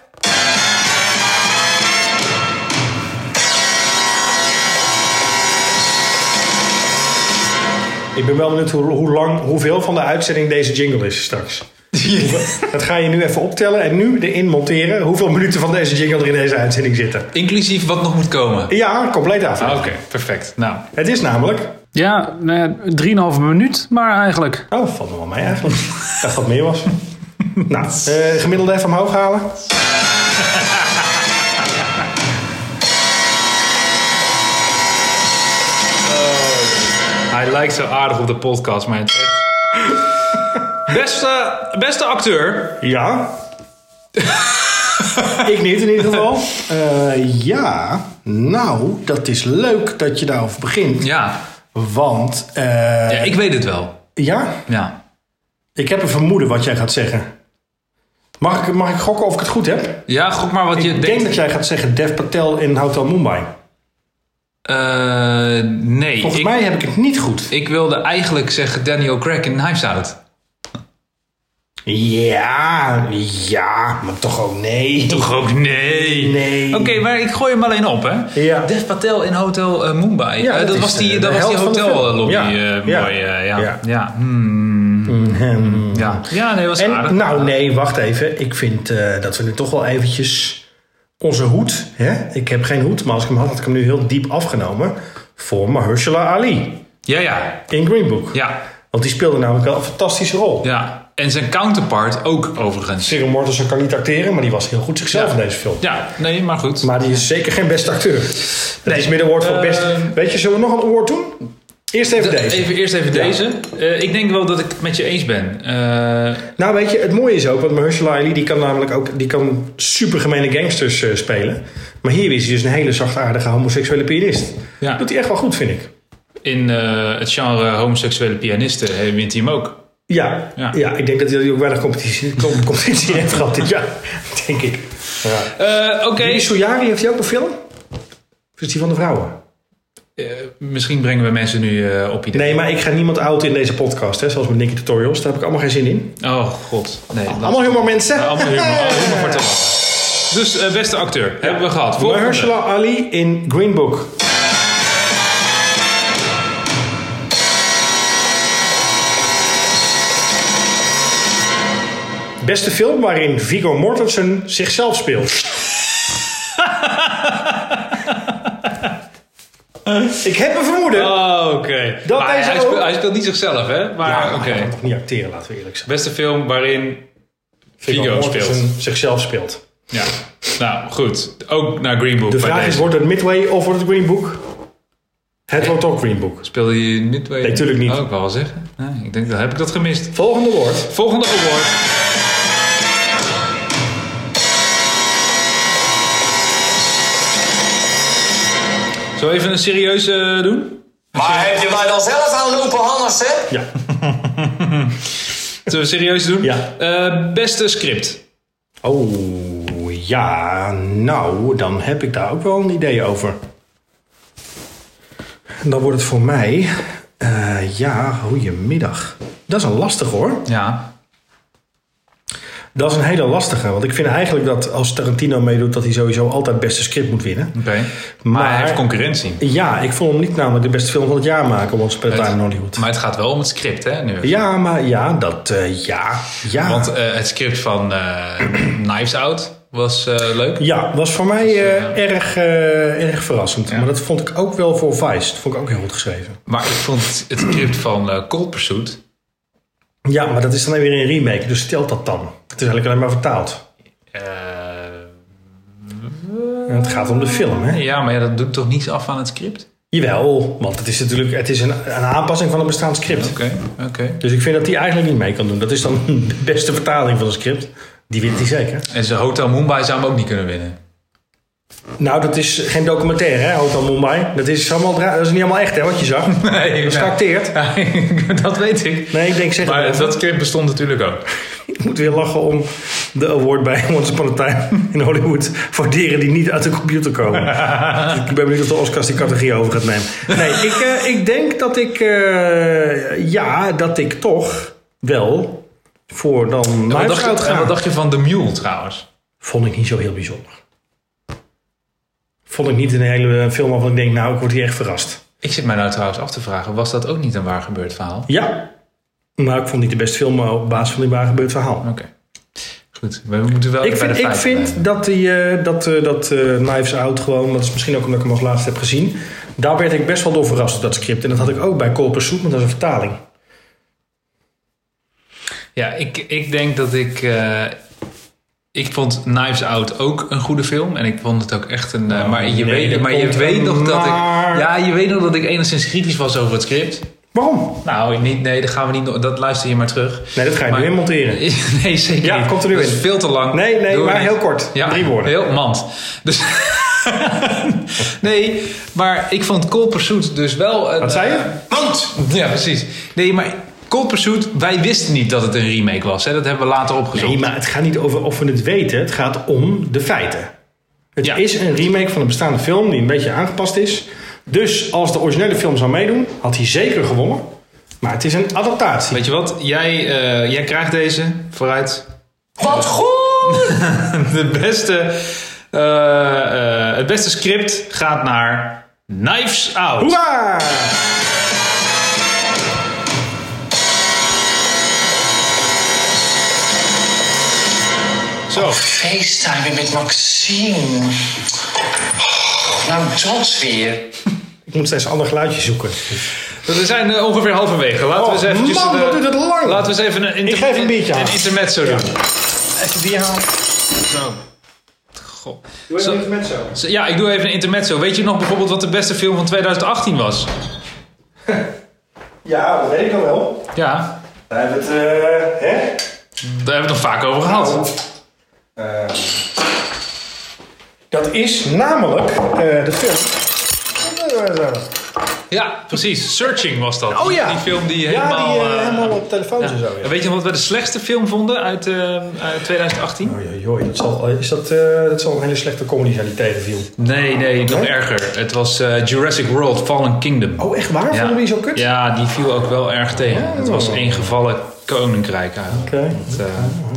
Speaker 1: Ik ben wel benieuwd hoe, hoe lang, hoeveel van de uitzending deze jingle is straks. Dat ga je nu even optellen en nu erin monteren hoeveel minuten van deze jingle er in deze uitzending zitten.
Speaker 2: Inclusief wat nog moet komen.
Speaker 1: Ja, compleet af.
Speaker 2: Ah, Oké, perfect. Nou,
Speaker 1: Het is namelijk.
Speaker 5: Ja, nou ja, 3,5 minuut maar eigenlijk.
Speaker 1: Oh, valt me wel mee eigenlijk. Ik dacht dat het meer was. Nou, eh, gemiddelde even omhoog halen.
Speaker 2: hij lijkt zo aardig op de podcast, maar het is echt- Beste, beste acteur.
Speaker 1: Ja. ik niet in ieder geval. Eh, ja, nou, dat is leuk dat je daarover begint.
Speaker 2: Ja.
Speaker 1: Want, eh,
Speaker 2: ja, ik weet het wel.
Speaker 1: ja,
Speaker 2: Ja.
Speaker 1: ik heb een vermoeden wat jij gaat zeggen. Mag ik, mag ik gokken of ik het goed heb?
Speaker 2: Ja, gok maar wat je
Speaker 1: Ik denk
Speaker 2: denkt.
Speaker 1: dat jij gaat zeggen Dev Patel in Hotel Mumbai.
Speaker 2: Eh, nee,
Speaker 1: Volgens
Speaker 2: ik,
Speaker 1: mij heb ik het niet goed.
Speaker 2: ik wilde eigenlijk zeggen Daniel Craig in Knives Out.
Speaker 1: Ja, ja, maar toch ook nee.
Speaker 2: Toch ook nee.
Speaker 1: Nee.
Speaker 2: Oké, maar ik gooi hem alleen op, hè?
Speaker 1: Ja.
Speaker 2: Dev Patel in Hotel eh, Mumbai.
Speaker 1: Ja,
Speaker 2: Eh,
Speaker 1: dat
Speaker 2: dat
Speaker 1: is
Speaker 2: was
Speaker 1: de-
Speaker 2: die,
Speaker 1: de
Speaker 2: dat was die
Speaker 1: helft van de film.
Speaker 2: hotellobby.
Speaker 1: Ja.
Speaker 2: eh,
Speaker 1: Ja.
Speaker 2: mooi, eh, ja.
Speaker 1: Ja. Mm-hmm.
Speaker 2: Ja. Ja. Hmm. ja. Ja, nee, was aardig.
Speaker 1: En, nou nee, wacht even. Ik vind eh, dat we nu toch wel eventjes onze hoed... Hè? Ik heb geen hoed, maar als ik hem had, had ik hem nu heel diep afgenomen... voor Mahershala Ali
Speaker 2: Ja, ja.
Speaker 1: in Green Book.
Speaker 2: Ja.
Speaker 1: Want die speelde namelijk wel een fantastische rol.
Speaker 2: Ja. En zijn counterpart ook, overigens.
Speaker 1: Cyril Mortensen kan niet acteren, maar die was heel goed zichzelf
Speaker 2: Ja.
Speaker 1: in deze film.
Speaker 2: Ja, nee, maar goed.
Speaker 1: Maar die is zeker geen beste acteur. Dat is middenwoord voor
Speaker 2: Eh,
Speaker 1: best... Weet je, zullen we nog een oor doen? Eerst even deze.
Speaker 2: Even, eerst even deze. Eh, ik denk wel dat ik het met je eens ben. Eh,
Speaker 1: Nou, weet je, het mooie is ook, want Mahershala Ali die kan namelijk ook die kan supergemene gangsters eh, spelen. Maar hier is hij dus een hele zachtaardige homoseksuele pianist.
Speaker 2: Ja.
Speaker 1: Dat doet hij echt wel goed, vind ik.
Speaker 2: in eh, het genre homoseksuele pianisten eh, wint hij hem ook.
Speaker 1: Ja, ja.
Speaker 2: Ja.
Speaker 1: ik denk dat hij ook weinig competitie, com- competitie heeft gehad dit jaar, denk ik. Ja.
Speaker 2: Eh, Oké.
Speaker 1: Die Soyari heeft hij ook een film? Of is die van de vrouwen?
Speaker 2: Eh, misschien brengen we mensen nu eh, op idee.
Speaker 1: Nee, maar ik ga niemand oud in deze podcast, hè, zoals met Nicky Tutorials. Daar heb ik allemaal geen zin in.
Speaker 2: Oh god. Nee, dat-
Speaker 1: Allemaal humor,
Speaker 2: Eh,
Speaker 1: mensen.
Speaker 2: allemaal humor. Oh, humor voor te lachen. Dus eh, beste acteur, hebben we gehad. Volgende.
Speaker 1: Mahershala Ali in Green Book. Beste film waarin Viggo Mortensen zichzelf speelt. Ik heb een vermoeden.
Speaker 2: Oh, oké.
Speaker 1: Dat
Speaker 2: Maar
Speaker 1: deze
Speaker 2: hij,
Speaker 1: ook.
Speaker 2: speelt, hij speelt niet zichzelf, hè? Maar
Speaker 1: Ja,
Speaker 2: oké.
Speaker 1: hij kan toch niet acteren, laten we eerlijk zijn.
Speaker 2: Beste film waarin... Viggo
Speaker 1: Mortensen
Speaker 2: speelt.
Speaker 1: zichzelf speelt.
Speaker 2: Ja. Nou, goed. Ook naar Green Book.
Speaker 1: De
Speaker 2: bij
Speaker 1: vraag is,
Speaker 2: deze.
Speaker 1: wordt het Midway of wordt het Green Book? Het wordt ook Green Book.
Speaker 2: Speelde hij Midway?
Speaker 1: Nee, tuurlijk niet.
Speaker 2: Oh, ik wou wel zeggen. Nee, ik denk, dan heb ik dat gemist.
Speaker 1: Volgende woord.
Speaker 2: Volgende award. Zullen we even een serieuze eh, doen?
Speaker 3: Maar heb je mij dan zelf aan lopen, Hannes, hè?
Speaker 1: Ja.
Speaker 2: Zullen we serieus doen?
Speaker 1: Ja.
Speaker 2: Eh, beste script.
Speaker 1: Oh ja, nou, dan heb ik daar ook wel een idee over. En Dan wordt het voor mij. eh, ja, goedemiddag. Dat is een lastige hoor.
Speaker 2: Ja.
Speaker 1: Dat is een hele lastige. Want ik vind eigenlijk dat als Tarantino meedoet, dat hij sowieso altijd het beste script moet winnen.
Speaker 2: Oké. Maar,
Speaker 1: Maar-
Speaker 2: hij heeft concurrentie.
Speaker 1: Ja, ik vond hem niet namelijk de beste film van het jaar maken op onze Time in Hollywood.
Speaker 2: Maar het gaat wel om het script, hè? Nu.
Speaker 1: Ja, maar ja, dat. eh, ja, ja.
Speaker 2: Want eh, het script van eh, Knives Out was eh, leuk.
Speaker 1: Ja, was voor mij eh, erg, eh, erg verrassend. Maar dat vond ik ook wel voor Vice. Dat vond ik ook heel goed geschreven.
Speaker 2: Maar ik vond het script van eh, Cold Pursuit...
Speaker 1: Ja, maar dat is dan weer een remake, dus stelt dat dan. Het is eigenlijk alleen maar vertaald.
Speaker 2: eh,
Speaker 1: En het gaat om de film, hè?
Speaker 2: ja, maar ja, dat doet toch niets af aan het script?
Speaker 1: Jawel, want het is natuurlijk het is een, een aanpassing van een bestaand script.
Speaker 2: Oké, oké.
Speaker 1: Dus ik vind dat die eigenlijk niet mee kan doen. Dat is dan de beste vertaling van een script. Die wint hij zeker.
Speaker 2: En zijn Hotel Mumbai zou hem ook niet kunnen winnen.
Speaker 1: Nou, dat is geen documentaire, hè, Hotel Mumbai. Dat is, allemaal, dra- dat is niet helemaal echt, hè, wat je zag.
Speaker 2: Nee,
Speaker 1: Dat is geacteerd.
Speaker 2: dat weet ik.
Speaker 1: Nee, ik denk, zeg
Speaker 2: Maar
Speaker 1: maar,
Speaker 2: dat script bestond natuurlijk ook.
Speaker 1: Ik moet weer lachen om de award bij Once Upon a Time in Hollywood... voor dieren die niet uit de computer komen. ik ben benieuwd of de Oscars die categorie over gaat nemen. Nee, ik, eh, ik denk dat ik... eh, ja, dat ik toch wel voor dan
Speaker 2: En wat,
Speaker 1: Knives Out
Speaker 2: dacht je, en
Speaker 1: ga.
Speaker 2: wat dacht je van The Mule trouwens?
Speaker 1: Vond ik niet zo heel bijzonder. Vond ik niet een hele film waarvan ik denk... nou, ik word hier echt verrast.
Speaker 2: Ik zit mij nou trouwens af te vragen, was dat ook niet een waar gebeurd verhaal?
Speaker 1: Ja, maar ik vond het niet de beste film maar op basis van die waar gebeurd verhaal.
Speaker 2: Oké. Goed, we moeten wel
Speaker 1: Ik
Speaker 2: even bij
Speaker 1: vind,
Speaker 2: de
Speaker 1: ik
Speaker 2: feiten blijven.
Speaker 1: vind dat, die, eh, dat, eh, dat eh, Knives Out gewoon, dat is misschien ook omdat ik hem als laatste heb gezien. Daar werd ik best wel door verrast, dat script. En dat had ik ook bij Colper Soep, want dat is een vertaling.
Speaker 2: Ja, ik, ik denk dat ik... eh, ik vond Knives Out ook een goede film. En ik vond het ook echt een... eh, maar je,
Speaker 1: Nou, nee,
Speaker 2: weet,
Speaker 1: dat
Speaker 2: maar je
Speaker 1: komt
Speaker 2: weet nog dat ik...
Speaker 1: maar.
Speaker 2: Ja, je weet nog dat ik enigszins kritisch was over het script.
Speaker 1: Waarom?
Speaker 2: Nou, niet, nee, dat gaan we niet... nog- Dat luister je maar terug.
Speaker 1: Nee, dat ga je nu
Speaker 2: Maar-
Speaker 1: weer monteren.
Speaker 2: Nee, zeker
Speaker 1: Ja,
Speaker 2: niet.
Speaker 1: komt er nu
Speaker 2: Dat is
Speaker 1: in.
Speaker 2: veel te lang.
Speaker 1: Nee, nee,
Speaker 2: Doen we
Speaker 1: maar
Speaker 2: niet.
Speaker 1: heel kort.
Speaker 2: Ja,
Speaker 1: Drie woorden.
Speaker 2: Heel mand. Dus... nee, maar ik vond Cold Pursuit dus wel... Een,
Speaker 1: Wat zei je?
Speaker 2: Mand! Ja, precies. Nee, maar Cold Pursuit, wij wisten niet dat het een remake was. Hè? Dat hebben we later opgezocht.
Speaker 1: Nee, maar het gaat niet over of we het weten. Het gaat om de feiten. Het
Speaker 2: Ja.
Speaker 1: is een remake van een bestaande film die een beetje aangepast is. Dus als de originele film zou meedoen, had hij zeker gewonnen. Maar het is een adaptatie.
Speaker 2: Weet je wat? Jij, eh, jij krijgt deze vooruit.
Speaker 3: Wat goed!
Speaker 2: De beste, eh, eh, het beste script gaat naar Knives Out.
Speaker 1: Hoera!
Speaker 2: Zo.
Speaker 3: FaceTime met Maxime. Nou, dat weer.
Speaker 1: Ik moet steeds een ander geluidje zoeken.
Speaker 2: We zijn eh, ongeveer halverwege. Laten we
Speaker 1: Oh,
Speaker 2: eens eventjes
Speaker 1: man,
Speaker 2: een, eh,
Speaker 1: wat duurt het lang.
Speaker 2: Laten we eens even een, inter-
Speaker 1: Ik geef een biertje
Speaker 2: een
Speaker 1: aan.
Speaker 2: intermezzo doen.
Speaker 1: Even die halen.
Speaker 2: Zo. Goh.
Speaker 1: Doe
Speaker 2: Zo-
Speaker 1: even met zo.
Speaker 2: zo- Ja, ik doe even een intermezzo. Weet je nog bijvoorbeeld wat de beste film van 2018 was?
Speaker 1: Ja, dat weet ik al wel.
Speaker 2: Ja,
Speaker 1: We hebben het, eh, hè?
Speaker 2: daar hebben we het nog vaak over gehad.
Speaker 1: Oh. Eh, dat is namelijk eh, de film.
Speaker 2: Ja, precies. Searching was dat.
Speaker 1: Oh ja.
Speaker 2: Die film die
Speaker 1: Ja,
Speaker 2: helemaal...
Speaker 1: die eh,
Speaker 2: eh,
Speaker 1: helemaal op telefoons en zo.
Speaker 2: En Weet je wat we de slechtste film vonden uit eh, uit 2018?
Speaker 1: Oei, oei, dat zal, is dat, eh, dat zal een hele slechte comedy zijn die tegenviel.
Speaker 2: Nee, nee, nog erger. Het was eh, Jurassic World Fallen Kingdom.
Speaker 1: Oh, echt waar? Vonden we die zo kut? Oh.
Speaker 2: Ja, die viel ook wel erg tegen. Het was één gevallen koninkrijk eigenlijk.
Speaker 1: Oké.
Speaker 2: Het, eh,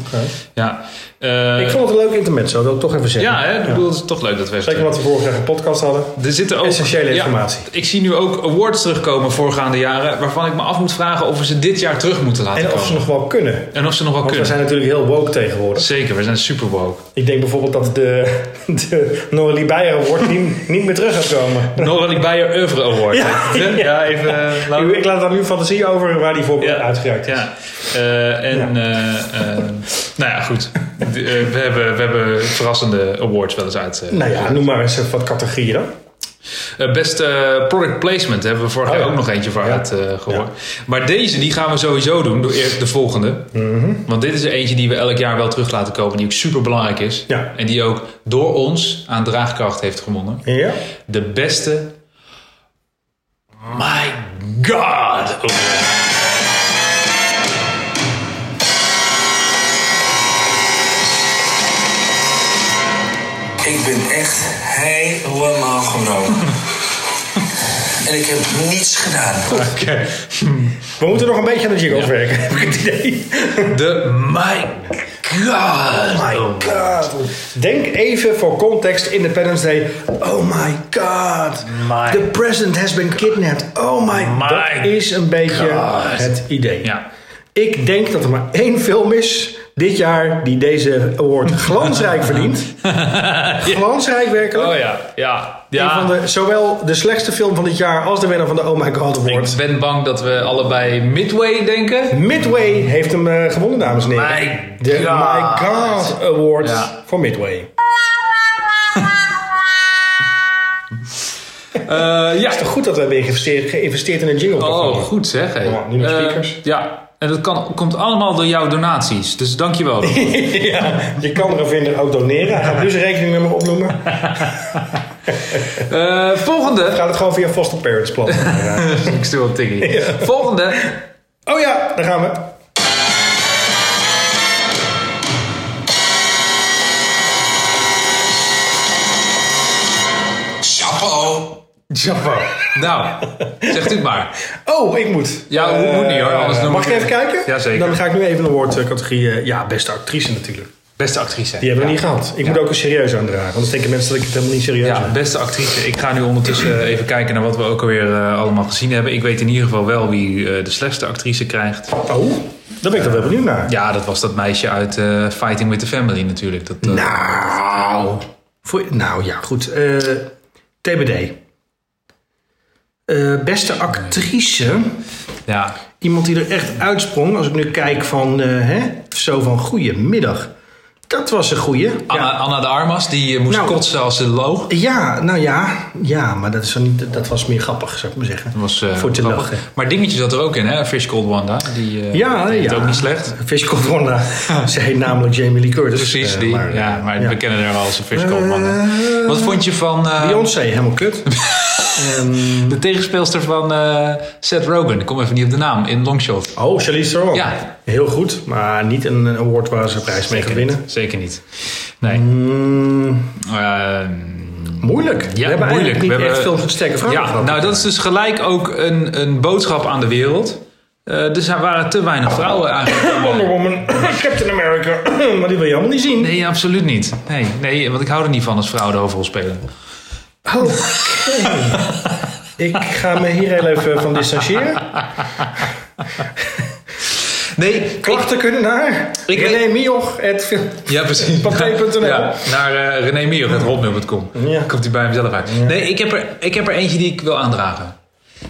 Speaker 1: oké.
Speaker 2: ja. Eh,
Speaker 1: Ik vond het een leuk intermezzo, dat wil ik toch even zeggen.
Speaker 2: ja, hè, ik bedoel, het is toch leuk dat we even-
Speaker 1: Zeker wat we vorige keer een podcast hadden.
Speaker 2: Er zitten ook,
Speaker 1: Essentiële
Speaker 2: ja,
Speaker 1: informatie.
Speaker 2: ik zie nu ook awards terugkomen voorgaande jaren... waarvan ik me af moet vragen of we ze dit jaar terug moeten laten
Speaker 1: En of
Speaker 2: komen.
Speaker 1: ze nog wel kunnen.
Speaker 2: en of ze nog wel
Speaker 1: Want we
Speaker 2: kunnen.
Speaker 1: zijn natuurlijk heel woke tegenwoordig.
Speaker 2: Zeker, we zijn super woke.
Speaker 1: Ik denk bijvoorbeeld dat de, de Noralie Beyer wordt niet, niet meer terug gaat komen.
Speaker 2: Noralie Beyer Oeuvre Award.
Speaker 1: Ja,
Speaker 2: Hè? ja even... eh, laten we-
Speaker 1: Ik, ik laat daar nu fantasie over waar die voor wordt uitgereikt is.
Speaker 2: Ja. Eh, en, eh, eh, nou ja, goed. D- eh, we, hebben, we hebben verrassende awards wel eens uit. eh.
Speaker 1: Nou ja, noem maar eens wat categorieën dan.
Speaker 2: Eh, beste product placement hebben we vorig
Speaker 1: Oh
Speaker 2: jaar
Speaker 1: ja.
Speaker 2: ook nog eentje voor uit eh, gehoord. Maar deze, die gaan we sowieso doen. Door eerst de volgende.
Speaker 1: Mhm.
Speaker 2: Want dit is er eentje die we elk jaar wel terug laten komen. Die ook super belangrijk is.
Speaker 1: Ja.
Speaker 2: En die ook door ons aan draagkracht heeft gewonnen.
Speaker 1: Ja?
Speaker 2: De beste... My God! award.
Speaker 6: Ik ben echt helemaal genomen. en ik heb niets gedaan.
Speaker 1: We moeten nog een beetje aan de jingles werken, heb ik het idee.
Speaker 2: De My God!
Speaker 1: my god. Denk even voor context Independence Day. Oh my god.
Speaker 2: My-
Speaker 1: The president has been kidnapped. Oh my,
Speaker 2: My
Speaker 1: Dat is een beetje
Speaker 2: God.
Speaker 1: het idee.
Speaker 2: Ja.
Speaker 1: Ik denk dat er maar één film is dit jaar die deze award glansrijk verdient. Glansrijk werkelijk.
Speaker 2: Oh ja, ja.
Speaker 1: Een
Speaker 2: ja.
Speaker 1: Van de, zowel de slechtste film van dit jaar als de winnaar van de Oh My God Award.
Speaker 2: Ik ben bang dat we allebei Midway denken.
Speaker 1: Midway heeft hem eh, gewonnen, dames en heren.
Speaker 2: My
Speaker 1: de
Speaker 2: God.
Speaker 1: My God Award
Speaker 2: Ja.
Speaker 1: voor Midway.
Speaker 2: Eh, ja.
Speaker 1: Goed dat we hebben geïnvesteerd, geïnvesteerd in een jingle.
Speaker 2: Oh, goed zeg. hé.
Speaker 1: Ja, nieuwe
Speaker 2: Eh,
Speaker 1: speakers.
Speaker 2: ja, en dat kan, komt allemaal door jouw donaties. Dus dankjewel.
Speaker 1: ja, je kan er een vinder ook doneren. Hij gaat nu zijn rekeningnummer opnoemen.
Speaker 2: Eh volgende.
Speaker 1: Gaat het gewoon via Foster Parents plan. Ja.
Speaker 2: Ik stuur op Tiggy. Volgende.
Speaker 1: Oh ja, daar gaan we.
Speaker 6: Chapeau.
Speaker 2: Chapeau. Nou, zegt u het maar.
Speaker 1: Oh, ik moet.
Speaker 2: Ja, hoe
Speaker 1: Eh,
Speaker 2: moet niet, hoor, anders doen we
Speaker 1: Mag ik
Speaker 2: het
Speaker 1: even
Speaker 2: niet.
Speaker 1: kijken?
Speaker 2: Jazeker.
Speaker 1: Dan ga ik nu even een woordcategorie. eh, Ja, beste actrice natuurlijk.
Speaker 2: Beste actrice.
Speaker 1: Die hebben we niet gehad. Ik moet ook een serieus aandragen. Anders denken mensen dat ik het helemaal niet serieus
Speaker 2: Ja,
Speaker 1: heb.
Speaker 2: beste actrice. Ik ga nu ondertussen eh, even kijken naar wat we ook alweer eh, allemaal gezien hebben. Ik weet in ieder geval wel wie eh, de slechtste actrice krijgt.
Speaker 1: Oh, daar ben ik dan wel benieuwd naar.
Speaker 2: Ja, dat was dat meisje uit eh, Fighting with the Family natuurlijk. Dat, eh,
Speaker 1: Nou, voor, nou ja, goed. Eh, TBD. Eh, beste actrice.
Speaker 2: ja.
Speaker 1: Iemand die er echt uitsprong. Als ik nu kijk van, eh, hè, zo van goeiemiddag. Dat was een goeie.
Speaker 2: Anna,
Speaker 1: Ja.
Speaker 2: Anna de Armas, die eh, moest
Speaker 1: Nou.
Speaker 2: kotsen als ze loog.
Speaker 1: Ja, nou ja. Ja, maar dat, is dan niet, dat was meer grappig, zou ik maar zeggen.
Speaker 2: Dat was eh,
Speaker 1: Voor te
Speaker 2: grappig.
Speaker 1: lachen.
Speaker 2: Maar dingetje zat er ook in, hè? Fish Called Wanda. Die eh,
Speaker 1: Ja,
Speaker 2: deed het
Speaker 1: ja.
Speaker 2: ook niet slecht.
Speaker 1: Fish Called Wanda. Ze heet namelijk Jamie Lee Curtis.
Speaker 2: Precies,
Speaker 1: Eh,
Speaker 2: die.
Speaker 1: maar, eh,
Speaker 2: ja, maar
Speaker 1: ja.
Speaker 2: we kennen haar wel als een Fish Called Wanda. Wat vond je van eh,
Speaker 1: Beyoncé, helemaal kut. Ehm,
Speaker 2: de tegenspeelster van eh, Seth Rogen? Ik kom even niet op de naam. In Longshot.
Speaker 1: oh, Charlize Theron.
Speaker 2: Ja.
Speaker 1: Heel goed, maar niet een een award waar ze een prijs mee gaan winnen.
Speaker 2: Zeker niet. Nee.
Speaker 1: Mm,
Speaker 2: Ehm,
Speaker 1: moeilijk. we hebben
Speaker 2: moeilijk.
Speaker 1: eigenlijk niet
Speaker 2: We
Speaker 1: echt
Speaker 2: hebben-
Speaker 1: veel sterke vragen
Speaker 2: Ja,
Speaker 1: gehad.
Speaker 2: nou dat is dus gelijk ook een, een boodschap aan de wereld. Eh, dus er waren te weinig vrouwen
Speaker 1: Wonder
Speaker 2: eigenlijk.
Speaker 1: Woman, Captain America, maar die wil je allemaal niet zien.
Speaker 2: Nee, absoluut niet. Nee, nee, want ik hou er niet van als vrouwen de hoofdrol spelen.
Speaker 1: Oké. Ik ga me hier heel even van distancieren.
Speaker 2: Nee,
Speaker 1: Klachten kunnen naar
Speaker 2: Ik
Speaker 1: René
Speaker 2: weet-
Speaker 1: Mioch. at veel-
Speaker 2: Ja, precies.
Speaker 1: Pathé.nl.
Speaker 2: Ja, naar eh René Mier, dat hotmail.com.
Speaker 1: Ja.
Speaker 2: Komt hij bij hemzelf uit. Nee, ik heb, er, ik heb er eentje die ik wil aandragen.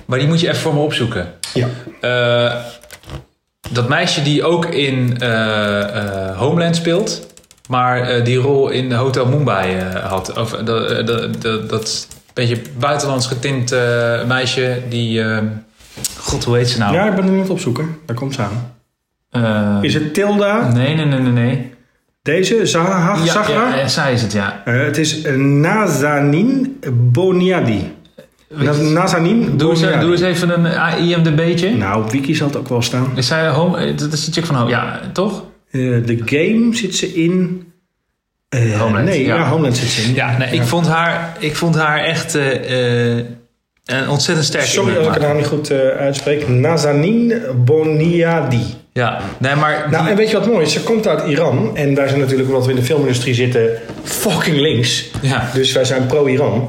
Speaker 2: Maar die moet je even voor me opzoeken.
Speaker 1: Ja.
Speaker 2: Eh, dat meisje die ook in eh, eh, Homeland speelt. Maar eh, die rol in Hotel Mumbai eh, had. Of, eh, dat- eh, dat- dat- dat beetje buitenlands getint eh, meisje. Die... eh, God, hoe heet ze nou?
Speaker 1: ja, ik ben er niet op zoeken. Daar komt ze aan.
Speaker 2: Eh,
Speaker 1: Is het Tilda?
Speaker 2: nee, nee, nee, nee, nee.
Speaker 1: Deze? Zaha?
Speaker 2: Ja,
Speaker 1: Zagra?
Speaker 2: ja, eh, zij is het, ja.
Speaker 1: Eh, het is Nazanin Boniadi. Na- Nazanin
Speaker 2: Doe eens,
Speaker 1: Boniadi.
Speaker 2: doe eens even een eh, IMDB'tje.
Speaker 1: Nou, op Wiki zal het ook wel staan.
Speaker 2: Is zij home? eh, Dat is de chick van home. Ja, toch?
Speaker 1: Eh, De game zit ze in... eh,
Speaker 2: Homeland,
Speaker 1: Nee,
Speaker 2: ja.
Speaker 1: ja. Homeland zit ze in.
Speaker 2: Ja, nee, ik vond haar, ik vond haar echt eh, eh, een ontzettend sterke
Speaker 1: Sorry
Speaker 2: indruk
Speaker 1: dat ik het
Speaker 2: maken.
Speaker 1: naam niet goed eh, uitspreek. Nazanin Boniadi.
Speaker 2: Ja, nee, maar
Speaker 1: Nou,
Speaker 2: die-
Speaker 1: en weet je wat mooi is? Ze komt uit Iran. En wij zijn natuurlijk, omdat we in de filmindustrie zitten, fucking links.
Speaker 2: Ja.
Speaker 1: Dus wij zijn pro-Iran.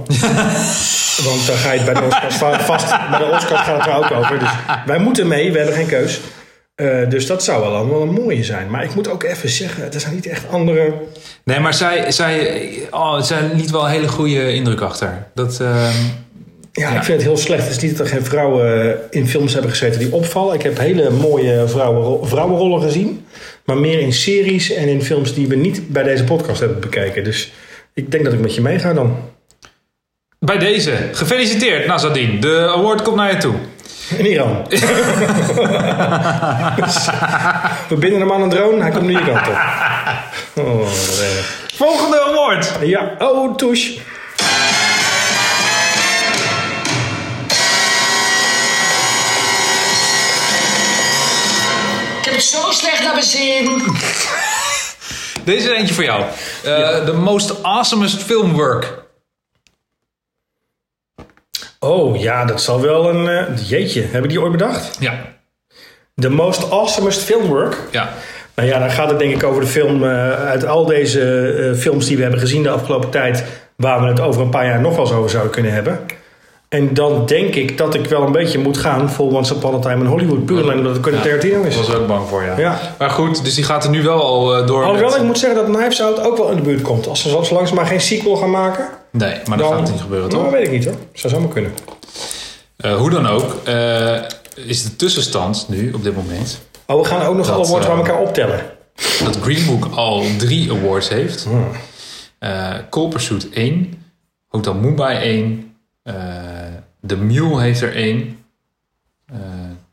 Speaker 1: Want daar ga je het bij de Oscars va- vast. Bij de Oscars gaat het er ook over. Dus wij moeten mee, we hebben geen keus. Eh, dus dat zou wel allemaal een mooie zijn. Maar ik moet ook even zeggen, er zijn niet echt andere...
Speaker 2: nee, maar zij, zij, oh, zij liet wel een hele goede indruk achter. Dat, ehm,
Speaker 1: Ja, ik vind het heel slecht. Het is niet dat er geen vrouwen eh, in films hebben gezeten die opvallen. Ik heb hele mooie vrouwenro- vrouwenrollen gezien. Maar meer in series en in films die we niet bij deze podcast hebben bekeken. Dus ik denk dat ik met je meega dan.
Speaker 2: bij deze, gefeliciteerd Nazadine. De award komt naar je toe.
Speaker 1: In Iran. Dus, we binden hem aan een drone. Hij komt nu je kant op. Oh, wat erg.
Speaker 2: Volgende award.
Speaker 1: ja, oh, touche.
Speaker 7: Ik heb het zo slecht naar mijn zin.
Speaker 2: Deze is eentje voor jou. Eh, The most awesomest filmwork.
Speaker 1: Oh ja, dat zal wel een... eh, jeetje, hebben die ooit bedacht?
Speaker 2: Ja,
Speaker 1: The most awesomest filmwork.
Speaker 2: ja.
Speaker 1: Nou ja, dan gaat het denk ik over de film eh, uit al deze eh, films die we hebben gezien de afgelopen tijd, waar we het over een paar jaar nog wel eens over zouden kunnen hebben. En dan denk ik dat ik wel een beetje moet gaan voor Once Upon a Time in Hollywood. Puur alleen omdat het Quentin Tarantino
Speaker 2: Daar
Speaker 1: is.
Speaker 2: was ik ook bang voor, ja.
Speaker 1: Ja. Oh,
Speaker 2: Maar goed, dus die gaat er nu wel al eh, door.
Speaker 1: Alhoewel,
Speaker 2: met-
Speaker 1: ik moet zeggen dat Knives Out ook wel in de buurt komt. Als ze zelfs langs maar geen sequel gaan maken,
Speaker 2: Nee, maar dat
Speaker 1: dan...
Speaker 2: gaat niet gebeuren, toch?
Speaker 1: Nou, weet ik niet hoor. Zou zomaar kunnen.
Speaker 2: Eh, hoe dan ook, eh, is de tussenstand nu op dit moment
Speaker 1: Oh, we gaan ook nog
Speaker 2: Dat,
Speaker 1: alle woorden bij
Speaker 2: eh,
Speaker 1: elkaar optellen.
Speaker 2: dat Green Book al drie awards heeft. Eh Cold Pursuit 1, Hotel Mumbai 1, eh, The Mule heeft er één. Eh,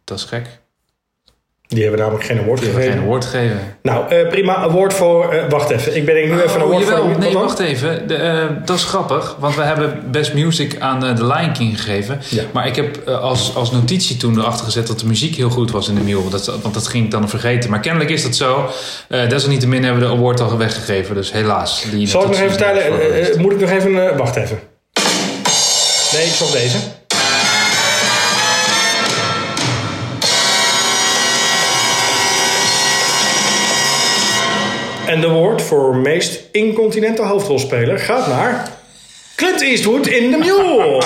Speaker 2: dat is gek.
Speaker 1: Die hebben namelijk geen award
Speaker 2: Ik heb geen
Speaker 1: gegeven.
Speaker 2: award gegeven.
Speaker 1: Nou, eh, prima. Award voor... eh, wacht even. Ik ben denk ik nu even een
Speaker 2: Oh,
Speaker 1: award
Speaker 2: jawel,
Speaker 1: voor...
Speaker 2: nee,
Speaker 1: Wat dan?
Speaker 2: wacht even. De, eh, dat is grappig, want we hebben Best Music aan eh, The Lion King gegeven.
Speaker 1: Ja.
Speaker 2: Maar ik heb eh, als, als notitie toen erachter gezet dat de muziek heel goed was in de Mule. Dat, want dat ging ik dan vergeten. Maar kennelijk is dat zo. Eh, desalniettemin hebben we de award al weggegeven, dus helaas. Die
Speaker 1: Zal ik nog
Speaker 2: notitie is
Speaker 1: even
Speaker 2: niet
Speaker 1: vertellen?
Speaker 2: voor
Speaker 1: eh,
Speaker 2: geweest.
Speaker 1: eh, moet ik nog even... eh, wacht even. Nee, ik zocht deze. En de award voor meest incontinente hoofdrolspeler gaat naar... Clint Eastwood in The Mule.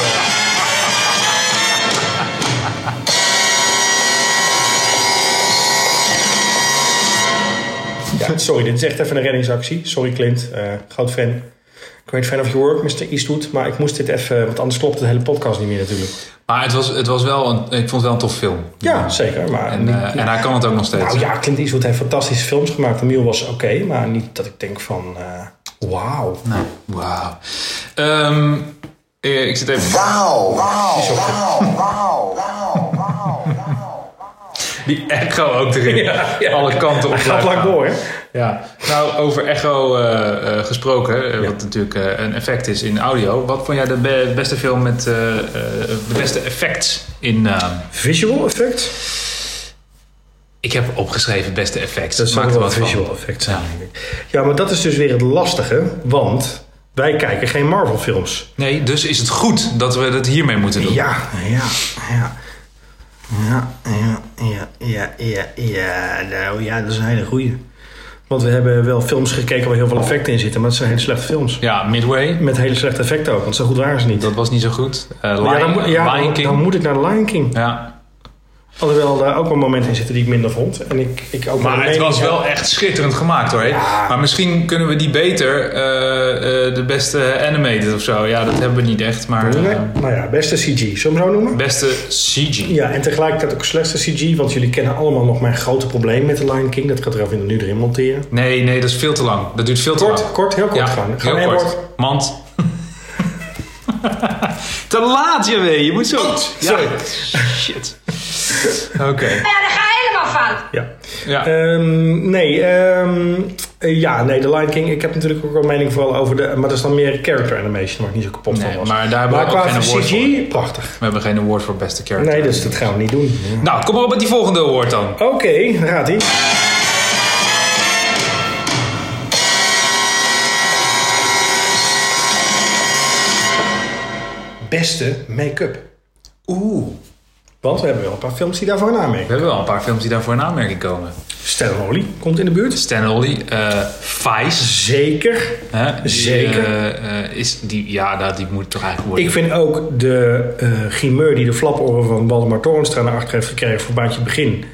Speaker 1: Ja, sorry, dit is echt even een reddingsactie. Sorry Clint, eh groot fan. Great fan of your work, Mr. Eastwood. Maar ik moest dit even, want anders klopt de hele podcast niet meer natuurlijk.
Speaker 2: Maar het was, het was wel een, ik vond het wel een tof film.
Speaker 1: Ja, zeker. Maar
Speaker 2: En, eh, en hij kan het ook nog steeds.
Speaker 1: nou ja, Clint Eastwood heeft fantastische films gemaakt. The Mule was oké, maar niet dat ik denk van... eh, Wauw.
Speaker 2: Nou, wauw. Ehm, eh, ik zit even...
Speaker 6: Wauw, wauw, wauw, wauw, wauw, wauw.
Speaker 2: Die echo ook erin.
Speaker 1: ja.
Speaker 2: Alle kanten op.
Speaker 1: Hij gaat lang
Speaker 2: blijft
Speaker 1: door, hè?
Speaker 2: Ja. Nou, over echo eh, eh, gesproken, eh, wat natuurlijk eh, een effect is in audio. Wat vond jij de be- beste film met eh, eh, de beste effects in... eh,
Speaker 1: Visual effect?
Speaker 2: ik heb opgeschreven beste effects.
Speaker 1: Dat
Speaker 2: Maak
Speaker 1: maakt
Speaker 2: er
Speaker 1: wel
Speaker 2: van.
Speaker 1: visual effect zijn, denk ik. Ja, maar dat is dus weer het lastige, want wij kijken geen Marvel films.
Speaker 2: Nee, dus is het goed dat we dat hiermee moeten doen.
Speaker 1: Ja, ja, ja. Ja, ja, ja, ja, ja, ja. Nou ja, dat is een hele goeie. Want we hebben wel films gekeken waar heel veel effecten in zitten, maar het zijn hele slechte films.
Speaker 2: Ja, Midway.
Speaker 1: Met hele slechte effecten ook, want zo goed waren ze niet.
Speaker 2: Dat was niet zo goed. Eh,
Speaker 1: ja,
Speaker 2: Lion,
Speaker 1: dan, moet- ja,
Speaker 2: Lion
Speaker 1: dan,
Speaker 2: King.
Speaker 1: dan moet ik naar Lion King.
Speaker 2: ja.
Speaker 1: Alhoewel daar ook wel momenten in zitten die ik minder vond. En ik, ik ook
Speaker 2: Maar
Speaker 1: een
Speaker 2: het
Speaker 1: mening
Speaker 2: was
Speaker 1: heb.
Speaker 2: wel echt schitterend gemaakt hoor. hè?
Speaker 1: Ja.
Speaker 2: Maar misschien kunnen we die beter eh, eh, de beste animated of zo. Ja, dat hebben we niet echt. Maar
Speaker 1: Nee,
Speaker 2: eh,
Speaker 1: nou ja, beste CG, zullen we hem zo noemen?
Speaker 2: beste CG.
Speaker 1: Ja, en tegelijkertijd ook slechtste CG, want jullie kennen allemaal nog mijn grote probleem met de Lion King. Dat gaat er even nu erin monteren.
Speaker 2: Nee, nee, dat is veel te lang. Dat duurt veel te
Speaker 1: Kort,
Speaker 2: lang.
Speaker 1: kort, heel kort
Speaker 2: ja,
Speaker 1: gaan. Gaan
Speaker 2: heel
Speaker 1: we
Speaker 2: kort. Mand. te laat je weet. Je moet zo. Ja.
Speaker 1: sorry.
Speaker 2: Shit. Oké.
Speaker 7: Ja, daar ga je helemaal van.
Speaker 1: Ja.
Speaker 2: Ja.
Speaker 1: Ehm, nee, ehm, eh, ja, nee, de Lion King. Ik heb natuurlijk ook een mening vooral over de... Maar dat is dan meer character animation, waar ik niet zo kapot
Speaker 2: Nee,
Speaker 1: van was.
Speaker 2: maar daar hebben we ook
Speaker 1: qua
Speaker 2: geen award
Speaker 1: CG, prachtig.
Speaker 2: We hebben geen award voor beste character.
Speaker 1: Nee, dus dat gaan we niet doen. Ja.
Speaker 2: Nou, kom maar op met die volgende award dan.
Speaker 1: Oké, daar gaat ie. Beste make-up.
Speaker 2: Oeh.
Speaker 1: Want we hebben wel een paar films die daarvoor een aanmerking.
Speaker 2: We hebben wel een paar films die daarvoor in aanmerking komen.
Speaker 1: Stan Holly komt in de buurt.
Speaker 2: Stan Ollie, eh Vice.
Speaker 1: Zeker.
Speaker 2: Hè? Die,
Speaker 1: Zeker.
Speaker 2: eh, eh, is die, ja, dat- die moet toch eigenlijk worden.
Speaker 1: Ik vind ook de eh grimeur die de flaporen van Waldemar Torenstra naar achter heeft gekregen voor Baantje Begin.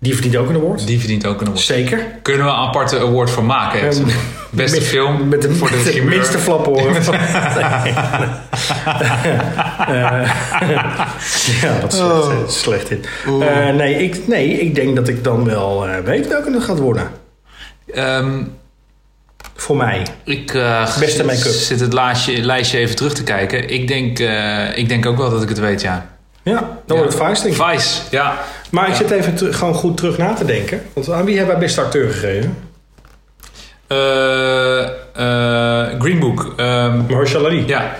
Speaker 1: Die verdient ook een award.
Speaker 2: Die verdient ook een award.
Speaker 1: Zeker.
Speaker 2: Kunnen we een aparte award voor maken? hè?
Speaker 1: Ehm,
Speaker 2: Beste
Speaker 1: Met-
Speaker 2: film
Speaker 1: met de,
Speaker 2: voor de,
Speaker 1: met de
Speaker 2: primeur.
Speaker 1: minste flaporen. van- ja, dat is
Speaker 2: Oh.
Speaker 1: echt, eh, slecht in. Eh, nee, ik, nee, ik denk dat ik dan wel eh, weet welke het gaat worden.
Speaker 2: Ehm,
Speaker 1: Voor mij.
Speaker 2: ik eh,
Speaker 1: Beste make-up.
Speaker 2: zit het laatje, lijstje even terug te kijken. Ik denk, eh, ik denk ook wel dat ik het weet, ja.
Speaker 1: Ja, dan wordt het Vice, denk ik.
Speaker 2: Vice, ja.
Speaker 1: Maar ik zit even te- gewoon goed terug na te denken. Want aan wie hebben wij beste acteur gegeven?
Speaker 2: Eh, eh, Green Book. ehm,
Speaker 1: Mahershala Ali.
Speaker 2: ja,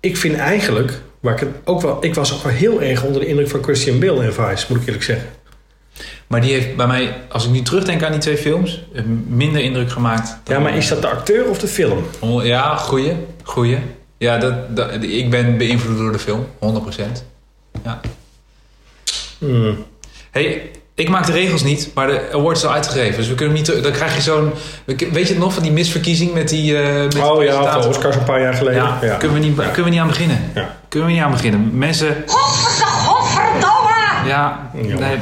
Speaker 1: Ik vind eigenlijk, waar ik het ook wel, ik was ook wel heel erg onder de indruk van Christian Bale en Vice, moet ik eerlijk zeggen.
Speaker 2: Maar die heeft bij mij, als ik nu terugdenk aan die twee films, eh, minder indruk gemaakt. dan-
Speaker 1: Ja, maar is dat de acteur of de film?
Speaker 2: Oh, Ja, goeie. Goeie. Ja, dat, dat- ik ben beïnvloed door de film, 100%. Ja.
Speaker 1: Hmm.
Speaker 2: Hey, ik maak de regels niet, maar de award is al uitgegeven. Dus we kunnen hem niet. ter- Dan krijg je zo'n. Weet je het nog van die misverkiezing met die. eh, met
Speaker 1: Oh
Speaker 2: die
Speaker 1: ja,
Speaker 2: presentator?
Speaker 1: van Oscars een paar jaar geleden.
Speaker 2: Ja, Kunnen, we niet, kunnen we niet aan beginnen?
Speaker 1: Ja.
Speaker 2: Kunnen we niet aan beginnen? Mensen.
Speaker 7: Godverdomme, godverdomme.
Speaker 2: Ja,
Speaker 1: Ja.
Speaker 2: nee,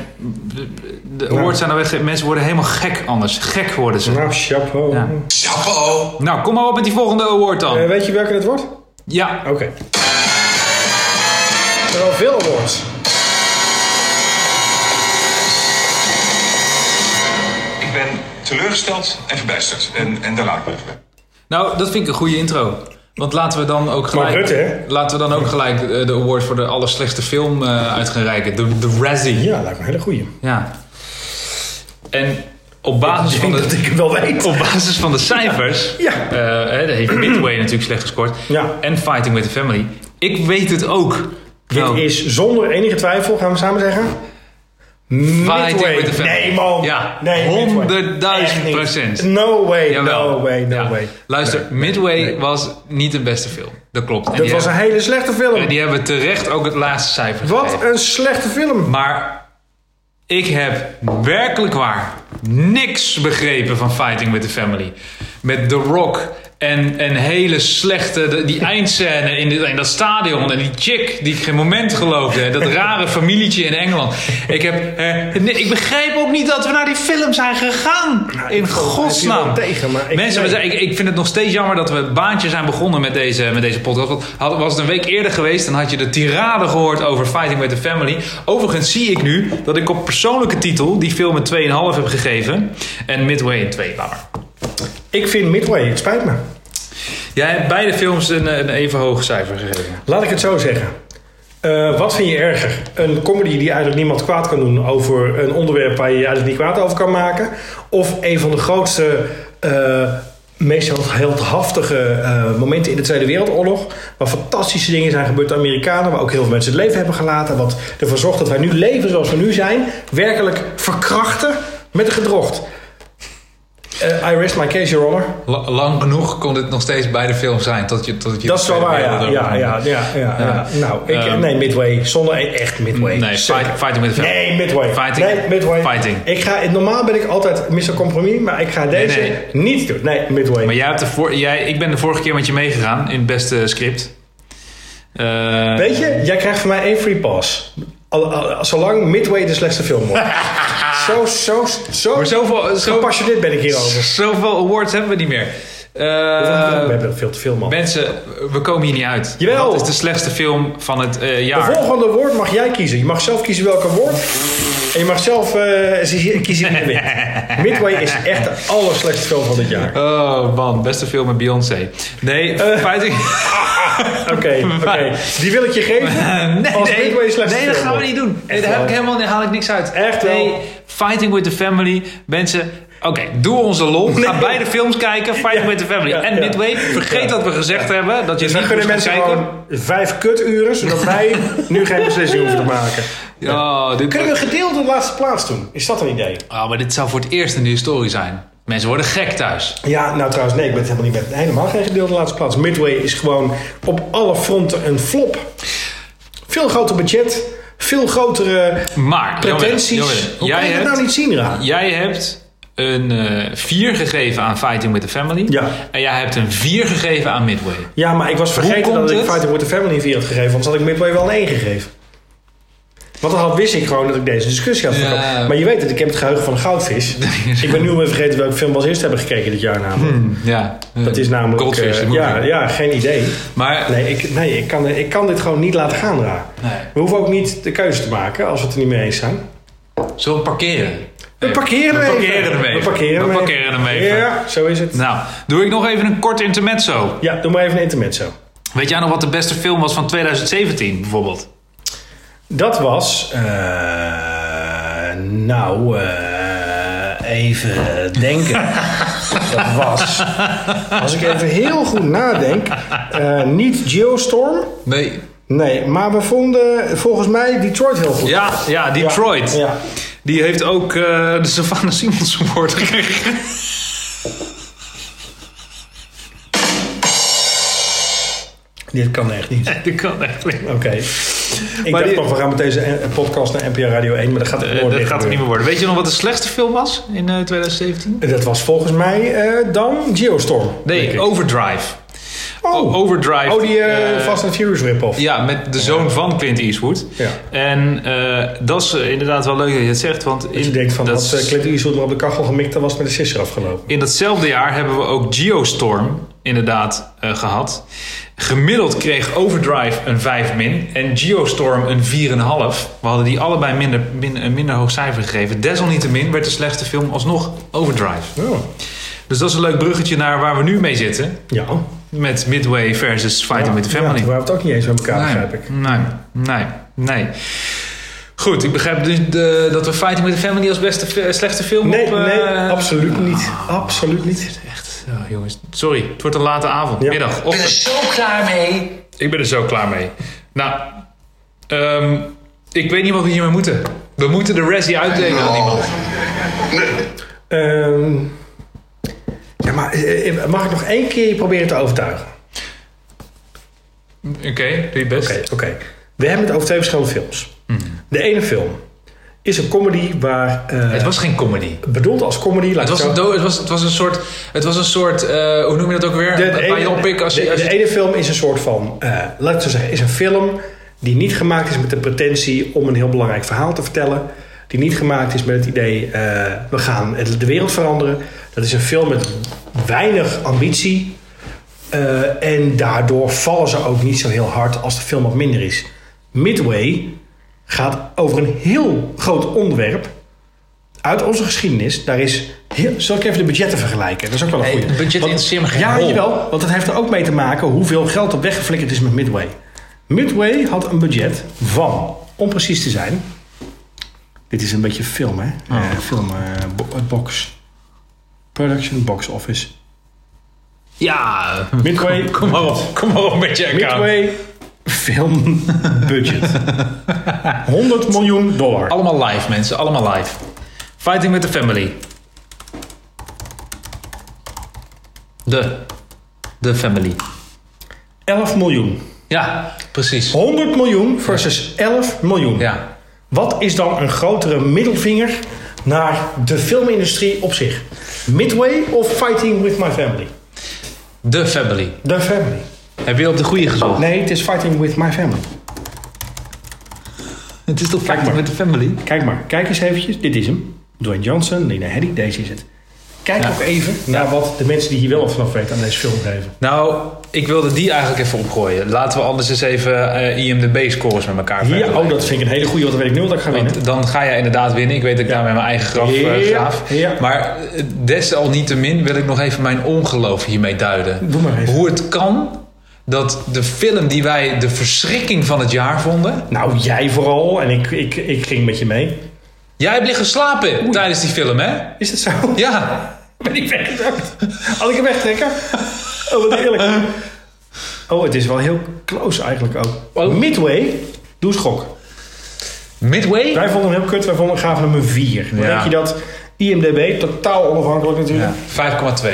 Speaker 2: de- de awards zijn al weg. Mensen worden helemaal gek anders. Gek worden ze.
Speaker 1: Nou, chapeau.
Speaker 2: Ja.
Speaker 6: Chapeau.
Speaker 2: Nou, kom maar op met die volgende award dan.
Speaker 1: Eh, weet je welke het wordt? Oké.
Speaker 2: ja,
Speaker 1: Er zijn wel veel awards.
Speaker 8: Ik ben teleurgesteld en verbijsterd. En, en daar laat ik me even bij.
Speaker 2: nou, dat vind ik een goede intro. Want laten we dan ook gelijk,
Speaker 1: Rutte, hè?
Speaker 2: Laten we dan ook gelijk eh, de award voor de allerslechtste film eh, uit gaan reiken. De, de Razzie. Ja.
Speaker 1: Ja, lijkt me een hele goeie.
Speaker 2: En op basis
Speaker 1: Ik
Speaker 2: van
Speaker 1: denk
Speaker 2: de...
Speaker 1: dat ik het wel weet.
Speaker 2: Op basis van de cijfers
Speaker 1: Ja.
Speaker 2: eh, hè, daar heeft Midway natuurlijk slecht gescoord.
Speaker 1: Ja.
Speaker 2: En Fighting with the Family. Ik weet het ook.
Speaker 1: Dit
Speaker 2: Nou,
Speaker 1: is zonder enige twijfel, gaan we samen zeggen.
Speaker 2: Fighting
Speaker 1: Midway.
Speaker 2: with the Family.
Speaker 1: Nee, man.
Speaker 2: Ja,
Speaker 1: Nee, Midway.
Speaker 2: 100.000
Speaker 1: Echt niet.
Speaker 2: procent.
Speaker 1: No way,
Speaker 2: Jawel.
Speaker 1: no way, no
Speaker 2: Ja.
Speaker 1: way.
Speaker 2: Luister, Midway was niet de beste film. Dat klopt. En
Speaker 1: Dat
Speaker 2: die
Speaker 1: was een
Speaker 2: hebben-
Speaker 1: hele slechte film.
Speaker 2: Die hebben terecht ook het laatste cijfer
Speaker 1: Wat
Speaker 2: gegeven.
Speaker 1: een slechte film.
Speaker 2: Maar ik heb werkelijk waar niks begrepen van Fighting with the Family. Met The Rock en een hele slechte, de- die eindscène in, dit- in dat stadion. En die chick die ik geen moment geloofde. En dat rare familietje in Engeland. Ik, heb, eh, nee, ik begrijp ook niet dat we naar die film zijn gegaan.
Speaker 1: Nou,
Speaker 2: in godsnaam.
Speaker 1: wel tegen, maar ik-
Speaker 2: Mensen, we zijn- ik, ik vind het nog steeds jammer dat we het baantje zijn begonnen met deze, met deze podcast. Want had, was het een week eerder geweest, dan had je de tirade gehoord over Fighting with the Family. Overigens zie ik nu dat ik op persoonlijke titel die film een 2,5 heb gegeven. En Midway een 2, laat maar.
Speaker 1: Ik vind Midway, het spijt me.
Speaker 2: Jij hebt beide films een, een even hoog cijfer gegeven.
Speaker 1: Laat ik het zo zeggen. Eh, wat vind je erger? Een comedy die eigenlijk niemand kwaad kan doen over een onderwerp waar je je eigenlijk niet kwaad over kan maken? Of een van de grootste, eh, meest heldhaftige eh, momenten in de Tweede Wereldoorlog? Waar fantastische dingen zijn gebeurd aan Amerikanen, waar ook heel veel mensen het leven hebben gelaten. Wat ervoor zorgt dat wij nu leven zoals we nu zijn, werkelijk verkrachten met een gedrocht. Eh, I rest my case, Your Honor.
Speaker 2: La- lang genoeg kon dit nog steeds beide films zijn. Tot je, tot je
Speaker 1: Dat is wel waar, ja.
Speaker 2: Wereldoorlog-
Speaker 1: ja, ja, ja, ja, ja. Nou, ik,
Speaker 2: Ehm,
Speaker 1: nee, Midway. Zonder e-, echt Midway.
Speaker 2: Nee,
Speaker 1: Zeker.
Speaker 2: fight- Fighting with the Family.
Speaker 1: Nee, Midway.
Speaker 2: Fighting.
Speaker 1: Nee, Midway.
Speaker 2: Fighting.
Speaker 1: Ik ga, normaal ben ik altijd Mr. Compromis, maar ik ga deze
Speaker 2: nee.
Speaker 1: niet doen. Nee, Midway.
Speaker 2: Maar jij hebt de voor, jij, ik ben de vorige keer met je meegegaan in het beste script. Eh,
Speaker 1: Weet je, jij krijgt van mij één free pass. Al- al- zolang Midway de slechtste film wordt. zo, zo, zo,
Speaker 2: maar zoveel, zo,
Speaker 1: gepassioneerd ben ik hierover.
Speaker 2: zoveel awards hebben we niet meer. Eh,
Speaker 1: we hebben veel te veel, man.
Speaker 2: mensen, we komen hier niet uit.
Speaker 1: Jawel.
Speaker 2: Dat is de slechtste film van het eh,
Speaker 1: De
Speaker 2: jaar.
Speaker 1: volgende woord mag jij kiezen. Je mag zelf kiezen welke woord. En je mag zelf eh, zie- kiezen wie er wint. Midway is echt de allerslechtste film van dit jaar.
Speaker 2: Oh man, beste film met Beyoncé. Nee, Fighting...
Speaker 1: Oké, Eh. Ah, oké. Die wil ik je geven.
Speaker 2: nee,
Speaker 1: als
Speaker 2: nee,
Speaker 1: Midway de slechtste
Speaker 2: nee, dat
Speaker 1: film
Speaker 2: gaan we
Speaker 1: wordt.
Speaker 2: niet doen. Nee, daar, heb ik helemaal, daar haal ik niks uit.
Speaker 1: Echt wel.
Speaker 2: nee, Fighting with the Family. Mensen, oké, doe onze lol. Ga beide films kijken. Fighting with the Family.
Speaker 1: ja,
Speaker 2: en
Speaker 1: ja.
Speaker 2: Midway, vergeet dat we gezegd hebben. Dat je
Speaker 1: Dus
Speaker 2: niet
Speaker 1: dan
Speaker 2: moest
Speaker 1: gunnen
Speaker 2: gaan
Speaker 1: mensen
Speaker 2: kijken.
Speaker 1: gewoon vijf kuturen, zodat wij nu geen beslissing hoeven te maken.
Speaker 2: Ja, dit-
Speaker 1: Kunnen we gedeeld de laatste plaats doen? Is dat een idee?
Speaker 2: Oh, maar dit zou voor het eerst in de historie zijn. Mensen worden gek thuis.
Speaker 1: Ja, nou trouwens, nee, ik ben het helemaal niet met helemaal geen gedeelde laatste plaats. Midway is gewoon op alle fronten een flop. Veel groter budget, veel grotere
Speaker 2: Maar,
Speaker 1: pretenties.
Speaker 2: Jan Willem, Jan Willem,
Speaker 1: Hoe
Speaker 2: jij
Speaker 1: kan je dat
Speaker 2: hebt,
Speaker 1: nou niet zien, Ra?
Speaker 2: Jij hebt een 4 gegeven aan Fighting with the Family.
Speaker 1: Ja.
Speaker 2: En jij hebt een 4 gegeven aan Midway.
Speaker 1: Ja, maar ik was vergeten
Speaker 2: komt
Speaker 1: dat ik
Speaker 2: het?
Speaker 1: Fighting with the Family een 4 had gegeven. Anders had ik Midway wel een 1 gegeven. Want dan had, wist ik gewoon dat ik deze discussie had.
Speaker 2: Ja.
Speaker 1: voorkomen. Maar je weet het, ik heb het geheugen van een goudvis. ik ben nu alweer vergeten welke film we als eerst hebben gekeken dit jaar namelijk.
Speaker 2: Ja.
Speaker 1: Dat is namelijk...
Speaker 2: Goldfish,
Speaker 1: eh,
Speaker 2: die
Speaker 1: ja,
Speaker 2: movie.
Speaker 1: ja, geen idee.
Speaker 2: Maar
Speaker 1: Nee, ik, nee ik, kan, ik kan dit gewoon niet laten gaan, Ra.
Speaker 2: Nee.
Speaker 1: We hoeven ook niet de keuze te maken als we het er niet mee eens zijn.
Speaker 2: zullen we parkeren?
Speaker 1: We parkeren
Speaker 2: we
Speaker 1: hem
Speaker 2: parkeren
Speaker 1: even.
Speaker 2: hem even.
Speaker 1: We parkeren
Speaker 2: We
Speaker 1: hem
Speaker 2: parkeren hem even.
Speaker 1: Ja, zo is het.
Speaker 2: Nou, doe ik nog even een kort intermezzo.
Speaker 1: Ja, doe maar even een intermezzo.
Speaker 2: Weet jij nog wat de beste film was van 2017 bijvoorbeeld?
Speaker 1: Dat was. eh, nou, eh, even denken. Dat was. Als ik even heel goed nadenk. eh, niet Geostorm.
Speaker 2: Nee.
Speaker 1: Nee, maar we vonden volgens mij Detroit heel goed.
Speaker 2: Ja, ja Detroit.
Speaker 1: Ja.
Speaker 2: Die heeft ook eh, de Savannah Simons Award gekregen.
Speaker 1: Dit kan echt niet.
Speaker 2: Dat kan echt niet.
Speaker 1: Oké. Ik
Speaker 2: Maar
Speaker 1: dacht
Speaker 2: die-
Speaker 1: toch, we gaan met deze eh, podcast naar NPR Radio 1, maar dat gaat er
Speaker 2: Eh,
Speaker 1: nooit
Speaker 2: dat
Speaker 1: meer
Speaker 2: gaat er niet
Speaker 1: gebeuren.
Speaker 2: meer worden. Weet je nog wat de slechtste film was in eh, 2017?
Speaker 1: Dat was volgens mij eh, dan Geostorm. denk
Speaker 2: Nee,
Speaker 1: ik.
Speaker 2: Overdrive.
Speaker 1: Oh,
Speaker 2: Overdrive.
Speaker 1: Oh, die eh,
Speaker 2: eh,
Speaker 1: Fast and Furious rip-off.
Speaker 2: Ja, met de zoon van Clint Eastwood.
Speaker 1: Ja.
Speaker 2: En eh, dat is eh, inderdaad wel leuk dat je het zegt. Want in,
Speaker 1: Dat je denkt van,
Speaker 2: dat
Speaker 1: als eh, Clint Eastwood maar op de kachel gemikt, dan was het met de sisser afgelopen.
Speaker 2: in datzelfde jaar hebben we ook Geostorm inderdaad eh, gehad. Gemiddeld kreeg Overdrive een 5 min en Geostorm een 4,5. We hadden die allebei minder, min- een minder hoog cijfer gegeven. Desalniettemin werd de slechtste film alsnog Overdrive.
Speaker 1: Oh.
Speaker 2: Dus dat is een leuk bruggetje naar waar we nu mee zitten.
Speaker 1: Ja.
Speaker 2: Met Midway versus Fighting with the
Speaker 1: Ja,
Speaker 2: Family.
Speaker 1: toen waren we het ook niet eens met elkaar,
Speaker 2: nee,
Speaker 1: begrijp ik.
Speaker 2: Nee, nee, nee. Goed, ik begrijp dus de- dat we Fighting with the Family als beste fi- slechtste film
Speaker 1: Nee,
Speaker 2: op... eh,
Speaker 1: nee, absoluut niet. Absoluut niet.
Speaker 2: Echt, oh, jongens. Sorry, het wordt een late avond,
Speaker 1: Ja.
Speaker 2: middag,
Speaker 3: Ik ben er
Speaker 2: ochtend.
Speaker 3: zo klaar mee.
Speaker 2: Ik ben er zo klaar mee. Nou, ehm, ik weet niet wat we hiermee moeten. We moeten de Razzie uitdelen aan iemand.
Speaker 1: Ehm, ja, maar eh, mag ik nog één keer je proberen te overtuigen?
Speaker 2: Oké, doe je best. Hmm.
Speaker 1: Oké, oké. We hebben het over twee verschillende films. De ene film is een comedy waar... eh,
Speaker 2: Het was geen comedy.
Speaker 1: bedoeld als comedy.
Speaker 2: Het
Speaker 1: Laat
Speaker 2: was,
Speaker 1: ik
Speaker 2: een
Speaker 1: het zo-
Speaker 2: do- het, was, het was een soort, het was een soort eh, hoe noem je dat ook weer?
Speaker 1: de, de,
Speaker 2: Waar je
Speaker 1: ene,
Speaker 2: oppikt als je-
Speaker 1: de-
Speaker 2: als
Speaker 1: de
Speaker 2: je-
Speaker 1: ene film is een soort van, eh, laat ik het zo zeggen, is een film die niet gemaakt is met de pretentie om een heel belangrijk verhaal te vertellen. Die niet gemaakt is met het idee, eh, we gaan het- de wereld veranderen. Dat is een film met weinig ambitie. Eh, en daardoor vallen ze ook niet zo heel hard als de film wat minder is. Midway gaat over een heel groot onderwerp uit onze geschiedenis. Daar is heel, zal ik even de budgetten vergelijken? Dat is ook wel een
Speaker 2: Nee,
Speaker 1: goede.
Speaker 2: het budget interesseert me geen
Speaker 1: Ja,
Speaker 2: hol.
Speaker 1: jawel, want het heeft er ook mee te maken hoeveel geld er weggeflikkerd is met Midway. Midway had een budget van, om precies te zijn. Dit is een beetje film, hè?
Speaker 2: Oh.
Speaker 1: Eh, film, eh, bo- eh, box. Production Box Office.
Speaker 2: Ja,
Speaker 1: Midway,
Speaker 2: kom maar op. Kom maar op met je account.
Speaker 1: Midway film budget. 100 miljoen dollar.
Speaker 2: Allemaal live mensen, allemaal live. Fighting with the family. De. De family.
Speaker 1: 11 miljoen.
Speaker 2: Ja, precies.
Speaker 1: 100 miljoen versus 11 miljoen.
Speaker 2: Ja.
Speaker 1: Wat is dan een grotere middelvinger naar de filmindustrie op zich? Midway of Fighting with My Family?
Speaker 2: De family.
Speaker 1: The Family.
Speaker 2: Heb je op de goede gezocht?
Speaker 1: Nee, het is Fighting with My Family.
Speaker 2: Het is toch Fighting with the family?
Speaker 1: Kijk maar, kijk eens eventjes. Dit is hem. Dwayne Johnson, Lena Headey, deze is het. Kijk ook even naar wat de mensen die hier wel vanaf weten aan deze film geven.
Speaker 2: Nou, ik wilde die eigenlijk even opgooien. Laten we anders eens even eh, IMDB-scores met elkaar
Speaker 1: Hier,
Speaker 2: vergelijken.
Speaker 1: oh, dat vind ik een hele goede, want dan weet ik nu wat ik ga winnen.
Speaker 2: Want dan ga jij inderdaad winnen. Ik weet dat ik daarmee mijn eigen graf eh,
Speaker 1: Ja,
Speaker 2: graaf.
Speaker 1: ja.
Speaker 2: Maar eh, desalniettemin wil ik nog even mijn ongeloof hiermee duiden.
Speaker 1: Doe maar even.
Speaker 2: Hoe het kan dat de film die wij de verschrikking van het jaar vonden...
Speaker 1: Nou, jij vooral. En ik, ik, ik ging met je mee.
Speaker 2: Jij hebt liggen slapen tijdens die film, hè?
Speaker 1: Is dat zo?
Speaker 2: Ja.
Speaker 1: Ben ik weggezakt? Had ik hem wegtrekken? Oh, wat eerlijk. Oh, het is wel heel close eigenlijk ook.
Speaker 2: Oh.
Speaker 1: Midway, doe schok.
Speaker 2: Midway?
Speaker 1: Wij vonden hem heel kut, wij vonden, gaven hem een 4. Dan
Speaker 2: Ja.
Speaker 1: denk je dat IMDB, totaal onafhankelijk natuurlijk,
Speaker 2: 5,2.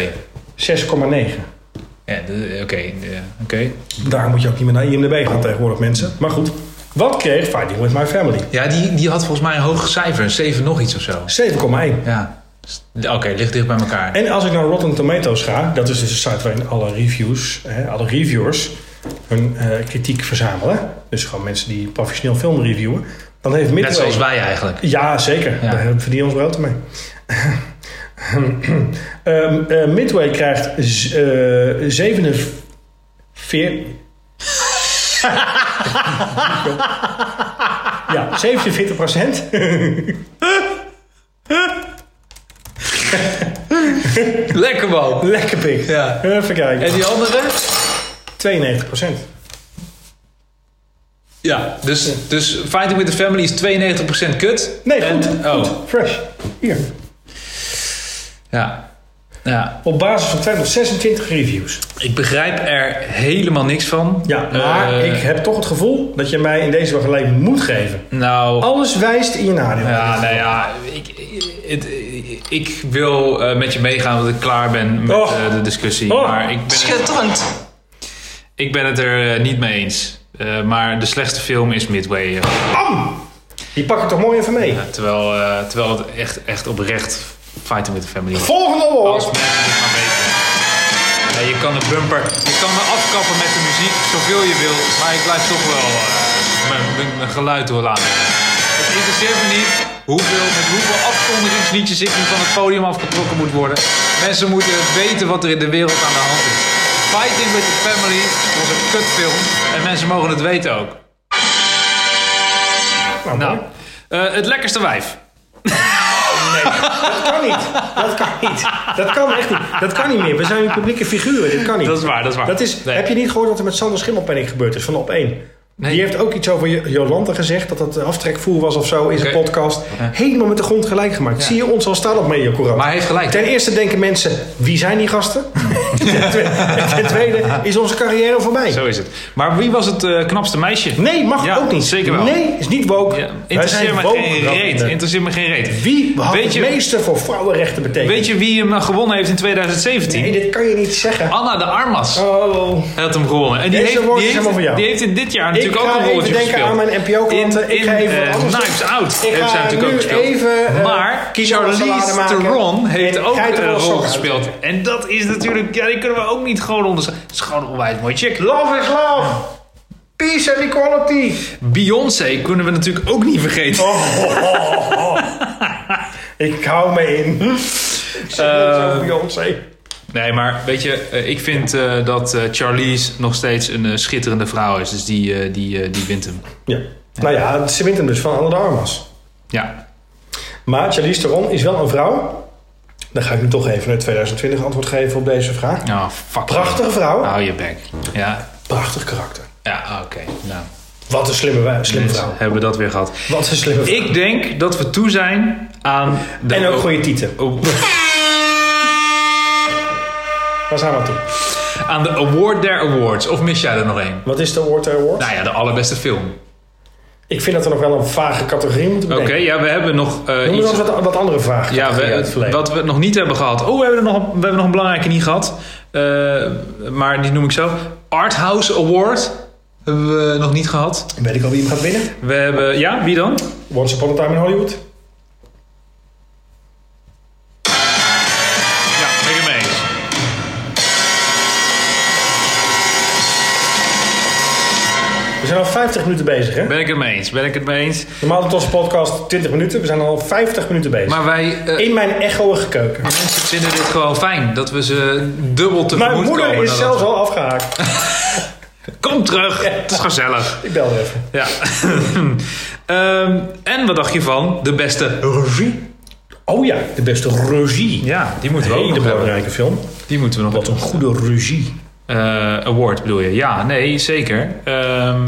Speaker 1: 6,9.
Speaker 2: Ja, de- eh, oké. ja, oké.
Speaker 1: Daar moet je ook niet meer naar IMDB gaan tegenwoordig mensen. Maar goed, wat kreeg Fighting With My Family?
Speaker 2: Ja, die, die had volgens mij een hoog cijfer. Een 7 nog iets of zo.
Speaker 1: 7,1.
Speaker 2: Ja. Oké, ligt dicht bij elkaar.
Speaker 1: En als ik naar Rotten Tomatoes ga, dat is dus de site waarin alle reviews, hè, alle reviewers hun eh, kritiek verzamelen. Dus gewoon mensen die professioneel film reviewen. Dan heeft Midway...
Speaker 2: Net zoals wij eigenlijk.
Speaker 1: Ja, zeker.
Speaker 2: Ja.
Speaker 1: Daar verdienen we ons brood mee. Ehm, eh, Midway krijgt z- eh 47... ja, 47 procent.
Speaker 2: Lekker man.
Speaker 1: Lekker pik.
Speaker 2: Ja.
Speaker 1: Even kijken.
Speaker 2: En die andere?
Speaker 1: 92 procent.
Speaker 2: Ja. Dus, dus Fighting with the Family is 92% kut.
Speaker 1: Nee,
Speaker 2: En-
Speaker 1: goed.
Speaker 2: oh.
Speaker 1: goed. Fresh. Hier.
Speaker 2: Ja. ja.
Speaker 1: Op basis van 226 reviews.
Speaker 2: Ik begrijp er helemaal niks van.
Speaker 1: Ja, maar
Speaker 2: Eh,
Speaker 1: ik heb toch het gevoel dat je mij in deze wel gelijk moet geven.
Speaker 2: Nou...
Speaker 1: Alles wijst in je nadeel.
Speaker 2: Ja, nou ja, ik, het- ik wil eh, met je meegaan omdat ik klaar ben met
Speaker 1: Oh.
Speaker 2: eh, de discussie.
Speaker 1: Oh.
Speaker 2: Maar ik ben, het,
Speaker 3: Schitterend.
Speaker 2: ik ben het er eh, niet mee eens. Eh, maar de slechtste film is Midway. eh,
Speaker 1: Die pak ik toch mooi even mee.
Speaker 2: terwijl, eh, terwijl het echt, echt oprecht Fighting with the Family was.
Speaker 1: Volgende woord.
Speaker 2: Als mensen het maar weten. Ja, je kan de bumper, je kan me afkappen met de muziek zoveel je wilt, maar ik blijf toch wel eh, mijn- mijn- mijn geluid doorlaten. Het interesseert me niet hoeveel, met hoeveel afkondigingsliedjes ik nu van het podium afgetrokken moet worden. Mensen moeten weten wat er in de wereld aan de hand is. Fighting with the Family was een kutfilm en mensen mogen het weten ook.
Speaker 1: Nou,
Speaker 2: Nou, eh, het lekkerste wijf.
Speaker 1: dat kan niet. Dat kan niet. Dat kan echt niet. Dat kan niet meer. We zijn nu publieke figuren. Dit kan niet.
Speaker 2: Dat is waar, dat is waar.
Speaker 1: Dat is,
Speaker 2: Nee.
Speaker 1: Heb je niet gehoord wat er met Sander Schimmelpenning gebeurd is van op 1?
Speaker 2: Nee.
Speaker 1: Die heeft ook iets over Jo- Jolante gezegd. Dat dat een aftrekvoer was of zo in zijn
Speaker 2: Oké.
Speaker 1: podcast. Helemaal met de grond gelijk gemaakt. Zie je ons al staan op Media Courant.
Speaker 2: Maar hij heeft gelijk.
Speaker 1: Ten eerste denken mensen, wie zijn die gasten? Ten tweede, ten tweede is onze carrière voorbij.
Speaker 2: Zo is het. Maar wie was het eh, knapste meisje?
Speaker 1: Nee, mag
Speaker 2: Ja,
Speaker 1: ook niet.
Speaker 2: Zeker wel.
Speaker 1: Nee, is niet woke.
Speaker 2: Ja,
Speaker 1: Wij
Speaker 2: interesseer
Speaker 1: zijn
Speaker 2: me
Speaker 1: woke
Speaker 2: geen
Speaker 1: dat
Speaker 2: reet.
Speaker 1: we-
Speaker 2: Interesseer me geen reet.
Speaker 1: Wie had
Speaker 2: Weet
Speaker 1: het
Speaker 2: je-
Speaker 1: meeste voor vrouwenrechten betekend?
Speaker 2: Weet je wie hem eh, gewonnen heeft in 2017?
Speaker 1: Nee, dit kan je niet zeggen.
Speaker 2: Anna de Armas
Speaker 1: Oh.
Speaker 2: had hem gewonnen. En die
Speaker 1: Deze
Speaker 2: heeft,
Speaker 1: woord
Speaker 2: die,
Speaker 1: is helemaal van
Speaker 2: heeft,
Speaker 1: jou.
Speaker 2: die heeft in dit jaar natuurlijk
Speaker 1: ik
Speaker 2: ook
Speaker 1: ga
Speaker 2: een
Speaker 1: even
Speaker 2: rolletje
Speaker 1: denken
Speaker 2: gespeeld.
Speaker 1: aan mijn NPO-klanten.
Speaker 2: in
Speaker 1: Ik
Speaker 2: in
Speaker 1: ga even wat
Speaker 2: eh,
Speaker 1: anders doen.
Speaker 2: Knives Out
Speaker 1: Ik
Speaker 2: heeft
Speaker 1: ga
Speaker 2: zij natuurlijk ook
Speaker 1: nu
Speaker 2: gespeeld.
Speaker 1: even, eh,
Speaker 2: maar
Speaker 1: kiezelsalade
Speaker 2: Charlize
Speaker 1: maken.
Speaker 2: Theron heeft
Speaker 1: En
Speaker 2: ook
Speaker 1: kijk er
Speaker 2: een
Speaker 1: wel
Speaker 2: rol
Speaker 1: sok uit.
Speaker 2: gespeeld. En dat is natuurlijk... Ja, die kunnen we ook niet gewoon onderscheiden. Het is gewoon een onwijs mooi chick.
Speaker 1: Love is love. Peace and equality.
Speaker 2: Beyoncé kunnen we natuurlijk ook niet
Speaker 1: Oh,
Speaker 2: vergeten.
Speaker 1: Ik hou me in. Zeg Beyoncé.
Speaker 2: Nee, maar weet je, eh, ik vind eh, dat eh, Charlize nog steeds een eh, schitterende vrouw is. Dus die, eh, die, eh, die wint hem.
Speaker 1: Ja. Nou ja, ze wint hem dus van Anne de Armas.
Speaker 2: Ja.
Speaker 1: Maar Charlize Theron is wel een vrouw. Dan ga ik nu toch even het 2020 antwoord geven op deze vraag.
Speaker 2: Nou, fuck.
Speaker 1: Prachtige vrouw.
Speaker 2: Hou je bek. Ja,
Speaker 1: Prachtig karakter.
Speaker 2: ja oké. Nou,
Speaker 1: Wat een slimme, wij- slimme
Speaker 2: dus
Speaker 1: vrouw.
Speaker 2: hebben we dat weer gehad.
Speaker 1: Wat een slimme vrouw.
Speaker 2: Ik denk dat we toe zijn aan... De
Speaker 1: En ook goede tieten.
Speaker 2: o-
Speaker 1: Waar zijn we aan toe?
Speaker 2: Aan de Award der Awards. Of mis jij er nog één?
Speaker 1: Wat is de Award der Award?
Speaker 2: Nou ja, de allerbeste film.
Speaker 1: Ik vind dat er nog wel een vage categorie moet
Speaker 2: Oké,
Speaker 1: bedenken.
Speaker 2: ja, we hebben nog eh,
Speaker 1: Noem
Speaker 2: iets...
Speaker 1: eens wat, wat andere vragen.
Speaker 2: Ja,
Speaker 1: uit het
Speaker 2: we,
Speaker 1: verleden.
Speaker 2: wat we nog niet hebben gehad. Oh, we hebben, er nog, een- we hebben nog een belangrijke niet gehad. Eh, maar die noem ik zo. Arthouse Award hebben we nog niet gehad.
Speaker 1: Weet ik al wie hem gaat winnen?
Speaker 2: We hebben... Ja, wie dan?
Speaker 1: Once Upon a Time in Hollywood.
Speaker 2: Ja, ben ik het mee eens.
Speaker 1: We zijn al 50 minuten bezig, hè?
Speaker 2: Ben ik het mee eens. Ben ik het mee eens.
Speaker 1: Normaal doet onze podcast 20 minuten. We zijn al 50 minuten bezig.
Speaker 2: Maar wij... eh,
Speaker 1: In mijn echoige keuken.
Speaker 2: mensen vinden dit gewoon fijn. Dat we ze dubbel tegemoet
Speaker 1: Mijn moeder
Speaker 2: komen.
Speaker 1: is
Speaker 2: nadat-
Speaker 1: zelfs al afgehaakt.
Speaker 2: Kom terug. Het is gezellig.
Speaker 1: Ik belde even.
Speaker 2: Ja. Ehm, en wat dacht je van de beste regie?
Speaker 1: Oh ja, de beste regie.
Speaker 2: Ja, die moeten we ook
Speaker 1: Hele
Speaker 2: nog hebben.
Speaker 1: belangrijke film.
Speaker 2: Die moeten we nog
Speaker 1: Wat een goede regie.
Speaker 2: Eh, award bedoel je? Ja, nee, zeker. Ehm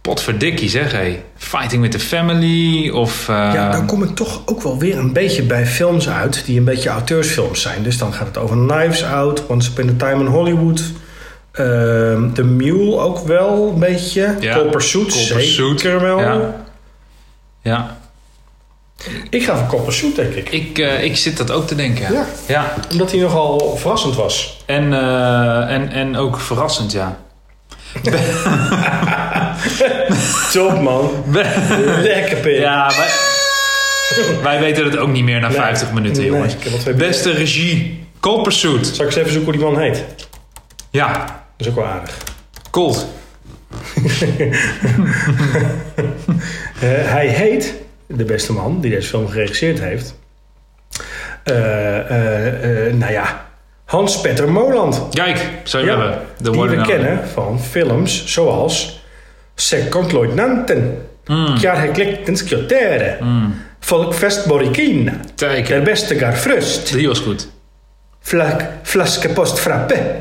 Speaker 2: potverdikkie zeg, hé. Fighting with the Family of... eh,
Speaker 1: Ja, nou, dan kom ik toch ook wel weer een beetje bij films uit die een beetje auteursfilms zijn. Dus dan gaat het over Knives Out, Once Upon a Time in Hollywood. ehm The Mule ook wel een beetje.
Speaker 2: Ja,
Speaker 1: Cold Pursuit,
Speaker 2: Cold Pursuit,
Speaker 1: zeker wel.
Speaker 2: ja. ja.
Speaker 1: Ik ga voor Cold Pursuit, denk ik.
Speaker 2: Ik, eh, ik zit dat ook te denken.
Speaker 1: Ja.
Speaker 2: ja.
Speaker 1: Omdat hij nogal verrassend was.
Speaker 2: En, eh, en, en ook verrassend, ja.
Speaker 1: Top, man. Lekker, pik.
Speaker 2: Ja, wij, wij weten het ook niet meer na 50 minuten,
Speaker 1: Nee,
Speaker 2: jongens.
Speaker 1: ik heb al twee
Speaker 2: Beste regie, Cold Pursuit.
Speaker 1: Zal ik eens even zoeken hoe die man heet?
Speaker 2: Ja,
Speaker 1: Dat is ook wel aardig.
Speaker 2: cold.
Speaker 1: Eh, hij heet, de beste man die deze film geregisseerd heeft... eh, eh, eh, nou ja, Hans-Petter Moland.
Speaker 2: Kijk, zo
Speaker 1: Ja,
Speaker 2: hebben we. De
Speaker 1: die
Speaker 2: worden
Speaker 1: we
Speaker 2: nou-
Speaker 1: kennen van films zoals Second Leutnanten,
Speaker 2: Hmm.
Speaker 1: Kjar Gekliktens Kjotere, Volkfest Borikina,
Speaker 2: Kijken.
Speaker 1: Der Beste Garfrust,
Speaker 2: Die was goed.
Speaker 1: Flak, Flaske Post Frappe,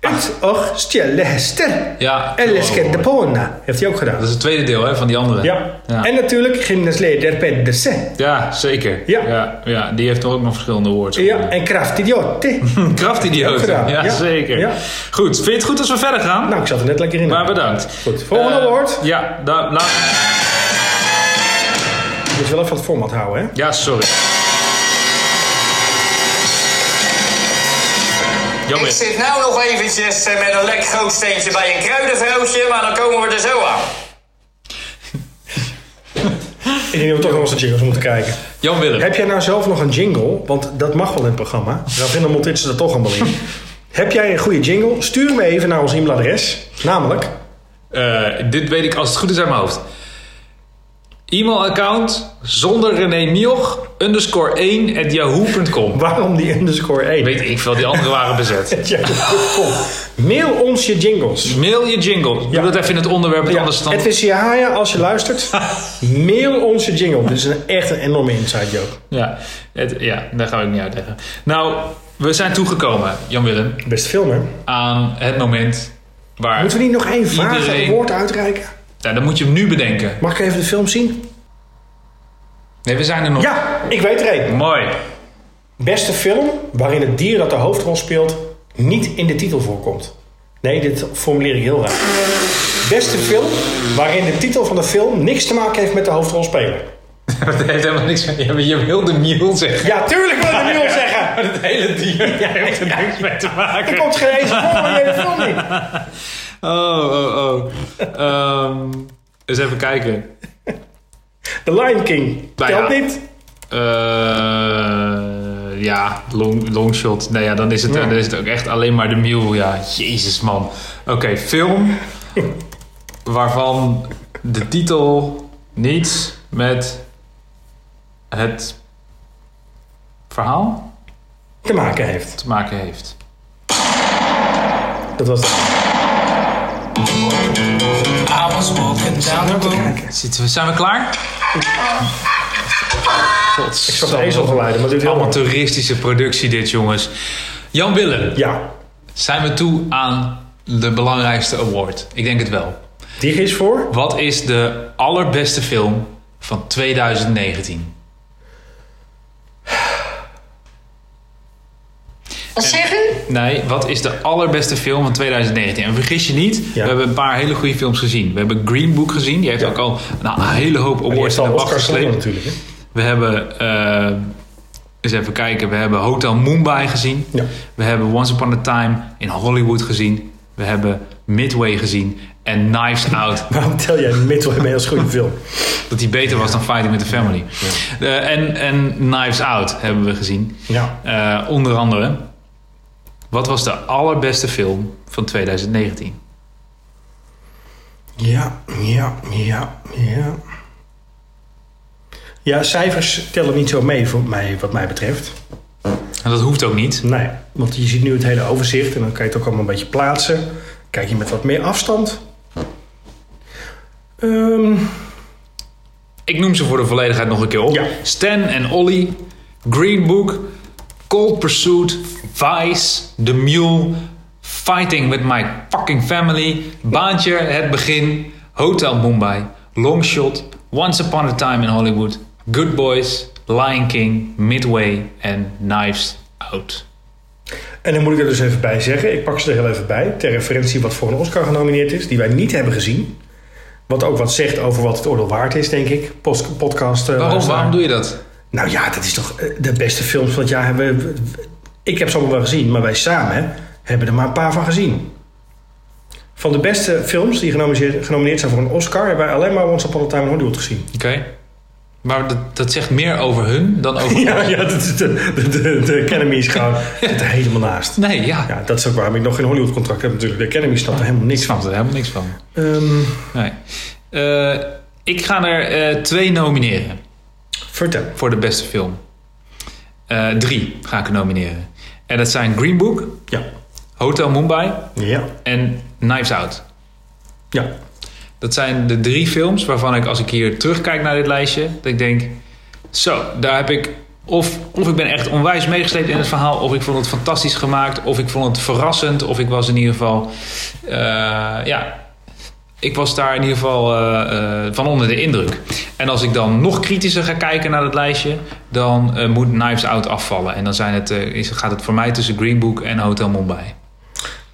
Speaker 1: Ut och Stjelle Hester,
Speaker 2: Ah. Ja,
Speaker 1: Ellis
Speaker 2: oh,
Speaker 1: de Pona, heeft hij ook
Speaker 2: Dat
Speaker 1: gedaan.
Speaker 2: is het tweede deel hè, van die andere.
Speaker 1: Ja.
Speaker 2: Ja.
Speaker 1: En natuurlijk Gymnasleder Pedersen.
Speaker 2: Ja, zeker.
Speaker 1: Ja.
Speaker 2: Ja, ja, die heeft ook nog verschillende awards.
Speaker 1: Ja, en Kraftidiote. Ook
Speaker 2: Kraftidioten. Ja,
Speaker 1: gedaan, ja.
Speaker 2: zeker.
Speaker 1: Ja.
Speaker 2: Goed, vind je het goed als we verder gaan?
Speaker 1: nou, ik zat er net lekker in.
Speaker 2: maar bedankt.
Speaker 1: Goed, volgende
Speaker 2: Eh,
Speaker 1: woord.
Speaker 2: Ja, da- laat-
Speaker 1: Je moet wel even van het format houden, hè?
Speaker 2: ja, sorry.
Speaker 9: Ik
Speaker 2: Jammer.
Speaker 9: zit nou nog eventjes eh, met een lek grootsteentje bij een kruidenvrootje, maar dan komen we er zo aan.
Speaker 1: Ik denk dat we toch nog eens de jingles moeten kijken.
Speaker 2: Jan Willem.
Speaker 1: Heb jij nou zelf nog een jingle? Want dat mag wel in het programma. Ravinda monteert ze er toch allemaal in. Heb jij een goede jingle? Stuur hem even naar ons e-mailadres. Namelijk...
Speaker 2: Eh, dit weet ik als het goed is uit mijn hoofd. E-mailaccount zonder René Mioch underscore 1 at yahoo.com.
Speaker 1: Waarom die underscore 1?
Speaker 2: Weet ik veel, die anderen waren bezet.
Speaker 1: Ja, kom. Mail ons je jingles.
Speaker 2: Mail je jingle. Doe
Speaker 1: Ja.
Speaker 2: dat even in het onderwerp, want
Speaker 1: Ja,
Speaker 2: anders dan...
Speaker 1: het is Yahaya als je luistert. Mail ons je jingle. Dit is een, echt een enorme inside joke.
Speaker 2: Ja, het, ja, daar gaan we ook niet uitleggen. Nou, we zijn toegekomen, Jan-Willem,
Speaker 1: Best film, hè?
Speaker 2: aan het moment waar...
Speaker 1: Moeten we niet nog één vraag
Speaker 2: Iedereen.
Speaker 1: een woord uitreiken?
Speaker 2: Nou, dan moet je hem nu bedenken.
Speaker 1: Mag ik even de film zien?
Speaker 2: Nee, we zijn er nog.
Speaker 1: Ja, ik weet er één.
Speaker 2: Mooi.
Speaker 1: Beste film waarin het dier dat de hoofdrol speelt niet in de titel voorkomt. Nee, dit formuleer ik heel raar. Beste film waarin de titel van de film niks te maken heeft met de hoofdrolspeler.
Speaker 2: Dat heeft helemaal niks van. Je, je wilde mule zeggen.
Speaker 1: Ja, tuurlijk wil ik het nu al zeggen.
Speaker 2: Maar het hele dier heeft er
Speaker 1: ja.
Speaker 2: niks mee te maken.
Speaker 1: Er komt geen eens voor van de hele film niet.
Speaker 2: Oh, oh, oh. Ehm, eens even kijken.
Speaker 1: The Lion King.
Speaker 2: Nou
Speaker 1: Telt
Speaker 2: ja.
Speaker 1: niet.
Speaker 2: Eh, ja, long, longshot. Nou ja, dan is, het, dan is het ook echt alleen maar de mule. Ja, jezus man. Oké, film waarvan de titel niets met het verhaal
Speaker 1: Te maken heeft.
Speaker 2: te maken heeft.
Speaker 1: Dat was het.
Speaker 2: Zitten we, zijn we klaar? God, ik
Speaker 1: de ezelgeluiden, maar het duurt heel lang.
Speaker 2: Amateuristische productie dit, jongens. Jan Willem,
Speaker 1: Ja.
Speaker 2: zijn we toe aan de belangrijkste award? Ik denk het wel.
Speaker 1: Die is voor.
Speaker 2: Wat is de allerbeste film van 2019?
Speaker 7: Wat zeg u?
Speaker 2: Nee, wat is de allerbeste film van 2019? En vergis je niet, we hebben een paar hele goede films gezien. We hebben Green Book gezien, die heeft ook al een hele hoop
Speaker 1: Die
Speaker 2: awards
Speaker 1: heeft
Speaker 2: in de
Speaker 1: al
Speaker 2: wacht
Speaker 1: Oscars gewonnen
Speaker 2: gesleept.
Speaker 1: natuurlijk. hè.
Speaker 2: We hebben, eh, eens even kijken, we hebben Hotel Mumbai gezien.
Speaker 1: Ja.
Speaker 2: We hebben Once Upon a Time in Hollywood gezien. We hebben Midway gezien. En Knives Out,
Speaker 1: Waarom tel jij Midway mee als goede film?
Speaker 2: dat die beter was dan Fighting with the Family. Eh, en, en Knives Out hebben we gezien.
Speaker 1: Ja.
Speaker 2: Eh, onder andere, wat was de allerbeste film van 2019?
Speaker 1: Ja, ja, ja, ja. Ja, cijfers tellen niet zo mee voor mij, wat mij betreft.
Speaker 2: En dat hoeft ook niet.
Speaker 1: Nee, want je ziet nu het hele overzicht en dan kan je het ook allemaal een beetje plaatsen. Kijk je met wat meer afstand. Ehm,
Speaker 2: Ik noem ze voor de volledigheid nog een keer op.
Speaker 1: Ja.
Speaker 2: Stan en Ollie, Green Book, Cold Pursuit, Vice, The Mule, Fighting with My Fucking Family, Baantje, Het Begin, Hotel Mumbai, Long Shot, Once Upon a Time in Hollywood, Good Boys, Lion King, Midway en Knives Out.
Speaker 1: en dan moet ik er dus even bij zeggen, ik pak ze er heel even bij, ter referentie wat voor een Oscar genomineerd is, die wij niet hebben gezien. Wat ook wat zegt over wat het oordeel waard is, denk ik. Post, podcast. eh,
Speaker 2: Waarom,
Speaker 1: luisteraar.
Speaker 2: waarom doe je dat?
Speaker 1: Nou ja, dat is toch eh, de beste films van het jaar. Hebben. we- we- Ik heb ze allemaal wel gezien, maar wij samen hebben er maar een paar van gezien. Van de beste films die genomineerd, genomineerd zijn voor een Oscar, hebben wij alleen maar Once Upon a Time in Hollywood gezien.
Speaker 2: Oké. Maar dat, dat zegt meer over hun dan over...
Speaker 1: Ja, ja dat is de, de, de, de Academy is gewoon zit er helemaal naast.
Speaker 2: Nee, ja.
Speaker 1: Ja, dat is ook waarom ik nog geen Hollywood contract heb natuurlijk. De Academy snapt er helemaal niks
Speaker 2: Ik snap
Speaker 1: van.
Speaker 2: er helemaal niks van.
Speaker 1: Ehm,
Speaker 2: Nee. Eh, ik ga er eh, twee nomineren
Speaker 1: vertel.
Speaker 2: voor de beste film. Eh, drie ga ik nomineren. En dat zijn Green Book,
Speaker 1: Ja.
Speaker 2: Hotel Mumbai
Speaker 1: Ja.
Speaker 2: en Knives Out.
Speaker 1: Ja.
Speaker 2: Dat zijn de drie films waarvan ik als ik hier terugkijk naar dit lijstje, dat ik denk, zo, daar heb ik of, of ik ben echt onwijs meegesleept in het verhaal, of ik vond het fantastisch gemaakt, of ik vond het verrassend, of ik was in ieder geval, eh, ja, ik was daar in ieder geval eh, eh, van onder de indruk. En als ik dan nog kritischer ga kijken naar dat lijstje, dan eh, moet Knives Out afvallen. En dan zijn het, eh, is, gaat het voor mij tussen Green Book en Hotel Mumbai.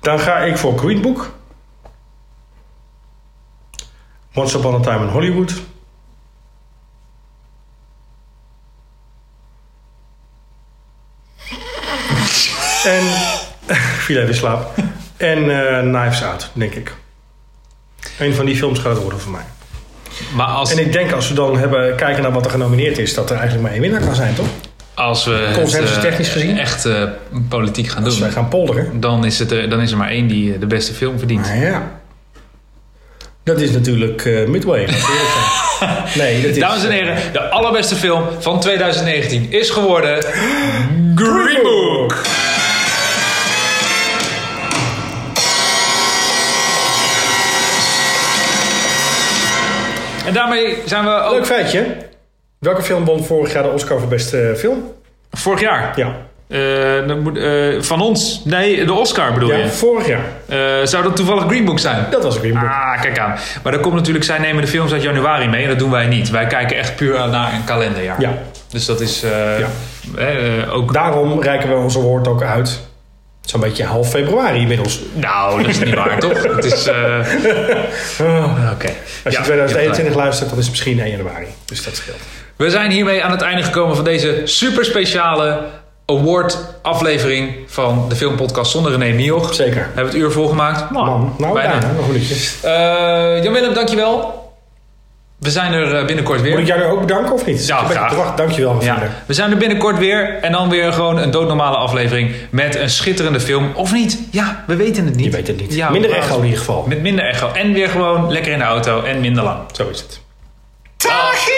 Speaker 1: Dan ga ik voor Green Book. Once Upon a Time in Hollywood. en viel even in slaap. En eh, Knives Out, denk ik. Een van die films gaat het worden voor mij.
Speaker 2: Maar als,
Speaker 1: En ik denk als we dan hebben, kijken naar wat er genomineerd is... dat er eigenlijk maar één winnaar kan zijn, toch?
Speaker 2: als we het,
Speaker 1: Consensus
Speaker 2: eh,
Speaker 1: technisch gezien?
Speaker 2: echt eh, politiek gaan
Speaker 1: Als
Speaker 2: doen,
Speaker 1: wij gaan polderen.
Speaker 2: dan is, het, eh, dan is er maar één die eh, de beste film verdient.
Speaker 1: Nou ja. Dat is natuurlijk eh, Midway. laat ik eerlijk zijn. nee, dat is...
Speaker 2: Dames en heren, de allerbeste film van 2019 is geworden Green Book. En daarmee zijn we ook
Speaker 1: Leuk feitje. Welke film won vorig jaar de Oscar voor beste eh, film?
Speaker 2: vorig jaar.
Speaker 1: Ja.
Speaker 2: Eh, dat moet, eh, van ons. Nee, de Oscar bedoel
Speaker 1: Ja,
Speaker 2: je.
Speaker 1: vorig jaar.
Speaker 2: Eh, zou dat toevallig Green Book zijn?
Speaker 1: Dat was Green Book.
Speaker 2: Ah, kijk aan. Maar dan komt natuurlijk, zij nemen de films uit januari mee. En dat doen wij niet. Wij kijken echt puur naar een kalenderjaar.
Speaker 1: Ja.
Speaker 2: Dus dat is eh,
Speaker 1: Ja.
Speaker 2: eh, eh, ook...
Speaker 1: Daarom reiken we ons award ook uit. Zo'n beetje half februari inmiddels.
Speaker 2: Nou, dat is niet waar, toch? Het is... eh,
Speaker 1: Oh.
Speaker 2: Oké.
Speaker 1: Als je
Speaker 2: Ja, hebt gelijk.
Speaker 1: 2021 luistert, dan is het misschien 1 januari. Dus dat scheelt.
Speaker 2: We zijn hiermee aan het einde gekomen van deze super speciale award aflevering van de filmpodcast zonder René Mioch.
Speaker 1: Zeker.
Speaker 2: Hebben we het uur volgemaakt?
Speaker 1: Man, nou
Speaker 2: Oh, bijna.
Speaker 1: bijna, nog een minuutje.
Speaker 2: Eh, Jan-Willem, dankjewel. We zijn er eh, binnenkort weer.
Speaker 1: Moet ik jou nou ook bedanken of niet?
Speaker 2: Ja,
Speaker 1: Ik ben
Speaker 2: graag.
Speaker 1: op de wacht. Dankjewel, mijn
Speaker 2: Ja,
Speaker 1: vrienden.
Speaker 2: we zijn er binnenkort weer en dan weer gewoon een doodnormale aflevering met een schitterende film. Of niet? Ja, we weten het niet.
Speaker 1: Je weet het niet.
Speaker 2: Ja,
Speaker 1: Minder
Speaker 2: we-
Speaker 1: echo in ieder geval.
Speaker 2: Met minder echo. En weer gewoon lekker in de auto en minder lang.
Speaker 1: Zo is het.
Speaker 9: Dag!